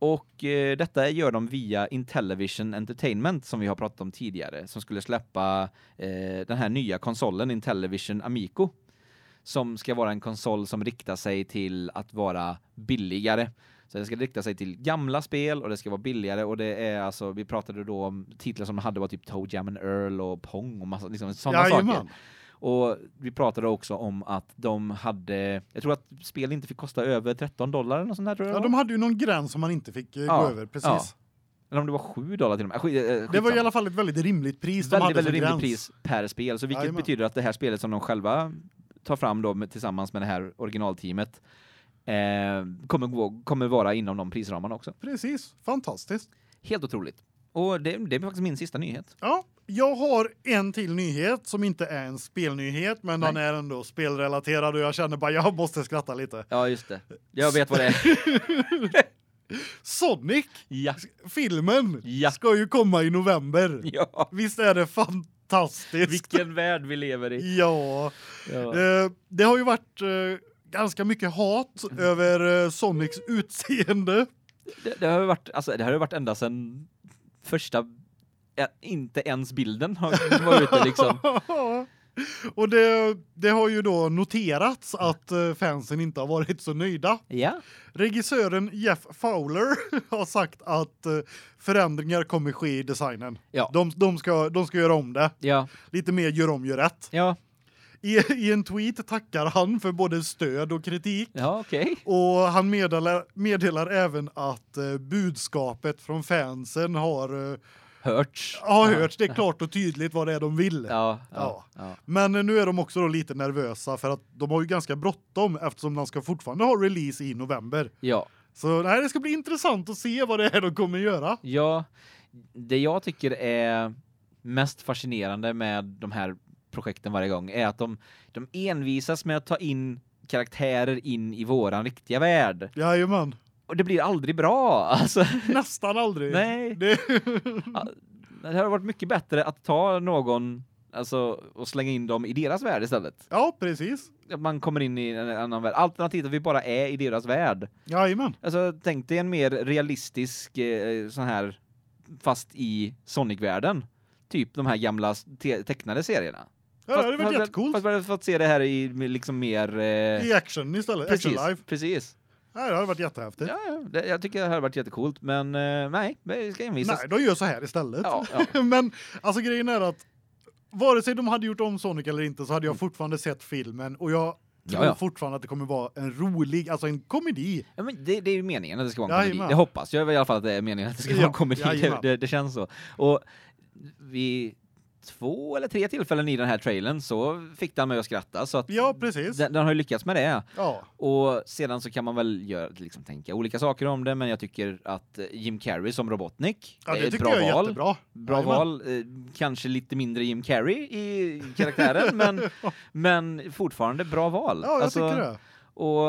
Och eh, detta gör de via Intellivision Entertainment som vi har pratat om tidigare som skulle släppa eh, den här nya konsolen Intellivision Amico som ska vara en konsol som riktar sig till att vara billigare. Så den ska rikta sig till gamla spel och det ska vara billigare och det är alltså vi pratade då om titlar som de hade var typ Toe Jam and Earl och Pong och massa liksom sådana saker.
Jajamän.
Och vi pratade också om att de hade, jag tror att spel inte fick kosta över 13 dollar eller något sånt där tror jag.
Ja,
det var.
de hade ju någon gräns som man inte fick eh,
Ja,
gå över. Precis.
ja. Eller om det var 7 dollar till och med. Äh, skit- äh,
Det var
skitsamma.
i alla fall ett väldigt rimligt pris de
väldigt,
hade
väldigt
som
rimligt
gräns.
pris per spel. Så vilket
Jajamän.
betyder att det här spelet som de själva tar fram då med, tillsammans med det här originalteamet eh, kommer, gå, kommer vara inom de prisramarna också.
Precis. Fantastiskt.
Helt otroligt. Och det, det är faktiskt min sista nyhet.
Ja, jag har en till nyhet som inte är en spelnyhet men den är ändå spelrelaterad och jag känner bara jag måste skratta lite.
Ja, just det. Jag vet vad det är.
Sonic
ja.
filmen
Ja.
ska ju komma i november.
ja.
Visst är det fantastiskt?
Vilken värld vi lever i.
Ja.
Ja.
Eh, det har ju varit eh, ganska mycket hat
Mm.
över eh, Sonics utseende.
Det, det har ju varit alltså det har ju varit ända sedan första ä- inte ens bilden har var ute liksom.
och det det har ju då noterats att eh, fansen inte har varit så nöjda.
Ja.
Regissören Jeff Fowler har sagt att eh, förändringar kommer ske i designen.
Ja.
De de ska de ska göra om det.
Ja.
Lite mer gör om gör rätt.
Ja.
I i en tweet tackar han för både stöd och kritik.
Ja, okej.
Och han meddelar, meddelar även att eh, budskapet från fansen har, eh,
Hörts.
har hörts. Det är klart och tydligt vad det är de vill.
Ja. Ja.
Ja.
Ja.
Men eh, nu är de också då lite nervösa för att de har ju ganska bråttom eftersom de ska fortfarande ha release i november.
ja.
Så nej, det ska bli intressant att se vad det är de kommer göra.
Ja, det jag tycker är mest fascinerande med de här projekten varje gång är att de de envisas med att ta in karaktärer in i våran riktiga värld
Jajamän.
och det blir aldrig bra alltså.
Nästan aldrig.
Nej.
Det,
Det hade varit mycket bättre att ta någon alltså och slänga in dem i deras värld istället.
ja, precis.
Att man kommer in i en annan värld. Alternativt att vi bara är i deras värld.
Jajamän.
Alltså tänk dig en mer realistisk eh, sån här fast i Sonic-världen. Typ de här gamla te- tecknade serierna.
Ja, det hade varit
fast-
jättecoolt.
Fast vi hade fått se det här i med liksom mer... Eh,
I action istället.
precis,
Action live.
Precis.
Ja, det hade varit jättehäftigt.
Ja, ja, det, jag tycker det här har varit jättecoolt, men eh, nej, vi ska envisas.
Nej, de gör så här istället.
Ja, ja.
Men alltså grejen är att vare sig de hade gjort om Sonic eller inte så hade jag fortfarande sett filmen och jag tror
Mm. Ja, ja.
fortfarande att det kommer vara en rolig, alltså en komedi.
Ja, men det, det är ju meningen att det ska vara en komedi.
Jajamän.
Det hoppas jag i alla fall att det är meningen att det ska vara
Ja,
en komedi. Det,
jajamän.
det, det känns så. Och vid två eller tre tillfällen i den här trailern så fick den mig att skratta. Så att
Ja, precis.
den, den har ju lyckats med det.
Ja.
Och sedan så kan man väl göra, liksom, tänka olika saker om det, men jag tycker att eh, Jim Carrey som Robotnik
Ja,
är
det
ett
tycker
bra
jag är
val.
jättebra.
Bra
Jajamän.
val, eh, kanske lite mindre Jim Carrey i karaktären, men, men fortfarande bra val.
Ja, jag
Alltså,
tycker det.
Och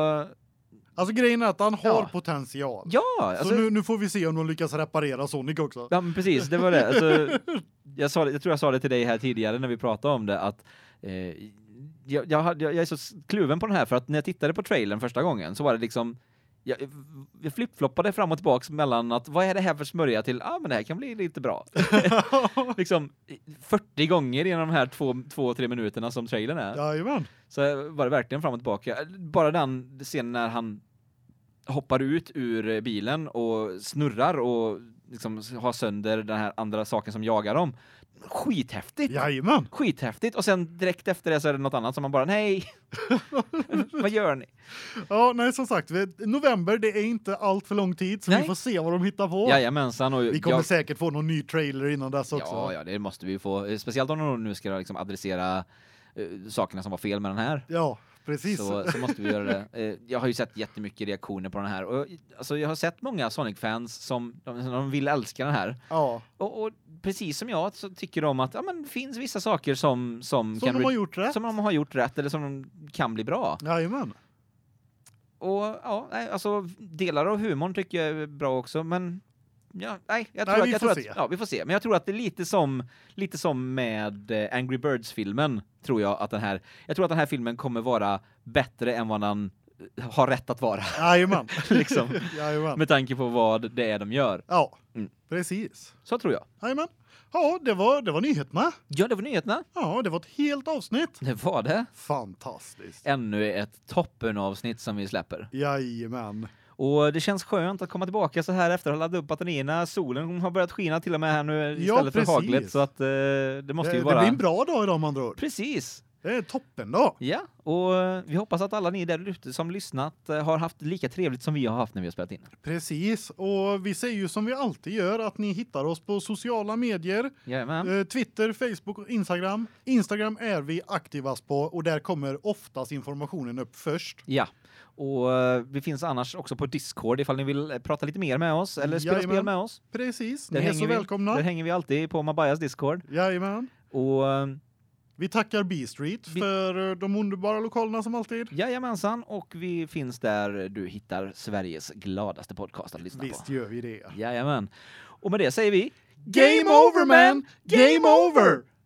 Alltså grejen är att han har
Ja.
potential.
ja, alltså,
så nu, nu får vi se om de lyckas reparera Sonic också.
Ja men precis, det var det. Alltså, jag, sa, det- jag tror jag sa det till dig här tidigare när vi pratade om det att eh, jag, jag, hade- jag, jag är så s- kluven på den här för att när jag tittade på trailern första gången så var det liksom jag, jag flippfloppade fram och tillbaks mellan att vad är det här för smörja till ah men det här kan bli lite bra. liksom 40 gånger genom de här två, två tre minuterna som trailern är.
Jajamän.
Så var det verkligen fram och tillbaka. Bara den scenen när han hoppar ut ur bilen och snurrar och liksom har sönder den här andra saken som jagar dem. Skithäftigt!
Jajamän.
Skithäftigt! Och sen direkt efter det så är det något annat som man bara nej! Vad gör ni?
Ja, nej som sagt, vi- november det är inte allt för lång tid så
Nej.
vi får se vad de hittar på.
Jajamensan! Och
Vi kommer
jag,
säkert få någon ny trailer innan dess också.
ja, ja, det måste vi ju få. Eh, Speciellt om de nu ska liksom adressera eh, sakerna som var fel med den här.
Ja, precis.
Så, så måste vi göra det. Eh, Jag har ju sett jättemycket reaktioner på den här. Och, alltså, jag har sett många Sonic-fans som de, som de vill älska den här.
Ja,
Och, och precis som jag så tycker de att ja, men, det finns vissa saker som, som,
som de
bli-
har gjort rätt.
som de har gjort rätt eller som de kan bli bra.
Jajamän.
Och ja, nej, alltså, delar av humorn tycker jag är bra också, men Ja, nej, jag tror,
Nej,
att,
vi
jag
får
tror att,
se.
ja, vi får se. Men jag tror att det är lite som lite som med eh, Angry Birds filmen tror jag att den här jag tror att den här filmen kommer vara bättre än vad den eh, har rätt att vara
Jajamän.
liksom
Jajamän.
med tanke på vad det är de gör.
Ja,
Mm.
precis.
Så tror jag.
Jajamän. Ja, det var, det var nyheterna.
Ja, det var nyheterna.
Ja, det var ett helt avsnitt.
Det var det.
Fantastiskt.
Ännu ett toppenavsnitt som vi släpper.
Jajamän.
Och det känns skönt att komma tillbaka så här efter att ha laddat upp batterierna. Solen har börjat skina till och med här nu
Ja,
istället för
precis.
haglet så att eh, det måste
det,
ju vara
det blir en bra dag idag med andra ord.
Precis.
Det är toppen då.
Ja, och eh, vi hoppas att alla ni där ute som lyssnat eh, har haft lika trevligt som vi har haft när vi har spelat in.
Precis. Och vi säger ju som vi alltid gör att ni hittar oss på sociala medier.
Jajamän.
Eh, Twitter, Facebook och Instagram. Instagram är vi aktivast på och där kommer oftast informationen upp först.
Ja. Och eh, vi finns annars också på Discord ifall ni vill eh, prata lite mer med oss eller spela
Jajamän.
spel med oss.
Precis.
Där
ni är
hänger
så
vi. Där
välkomna.
hänger vi alltid på Mabayas Discord.
Jajamän.
Och eh,
Vi tackar B-Street
Vi-
för eh, de underbara lokalerna som alltid.
jajamensan, och vi finns där du hittar Sveriges gladaste podcast att lyssna
Visst
på.
gör vi det.
Jajamän. Och med det säger vi
Game over, man! Game over!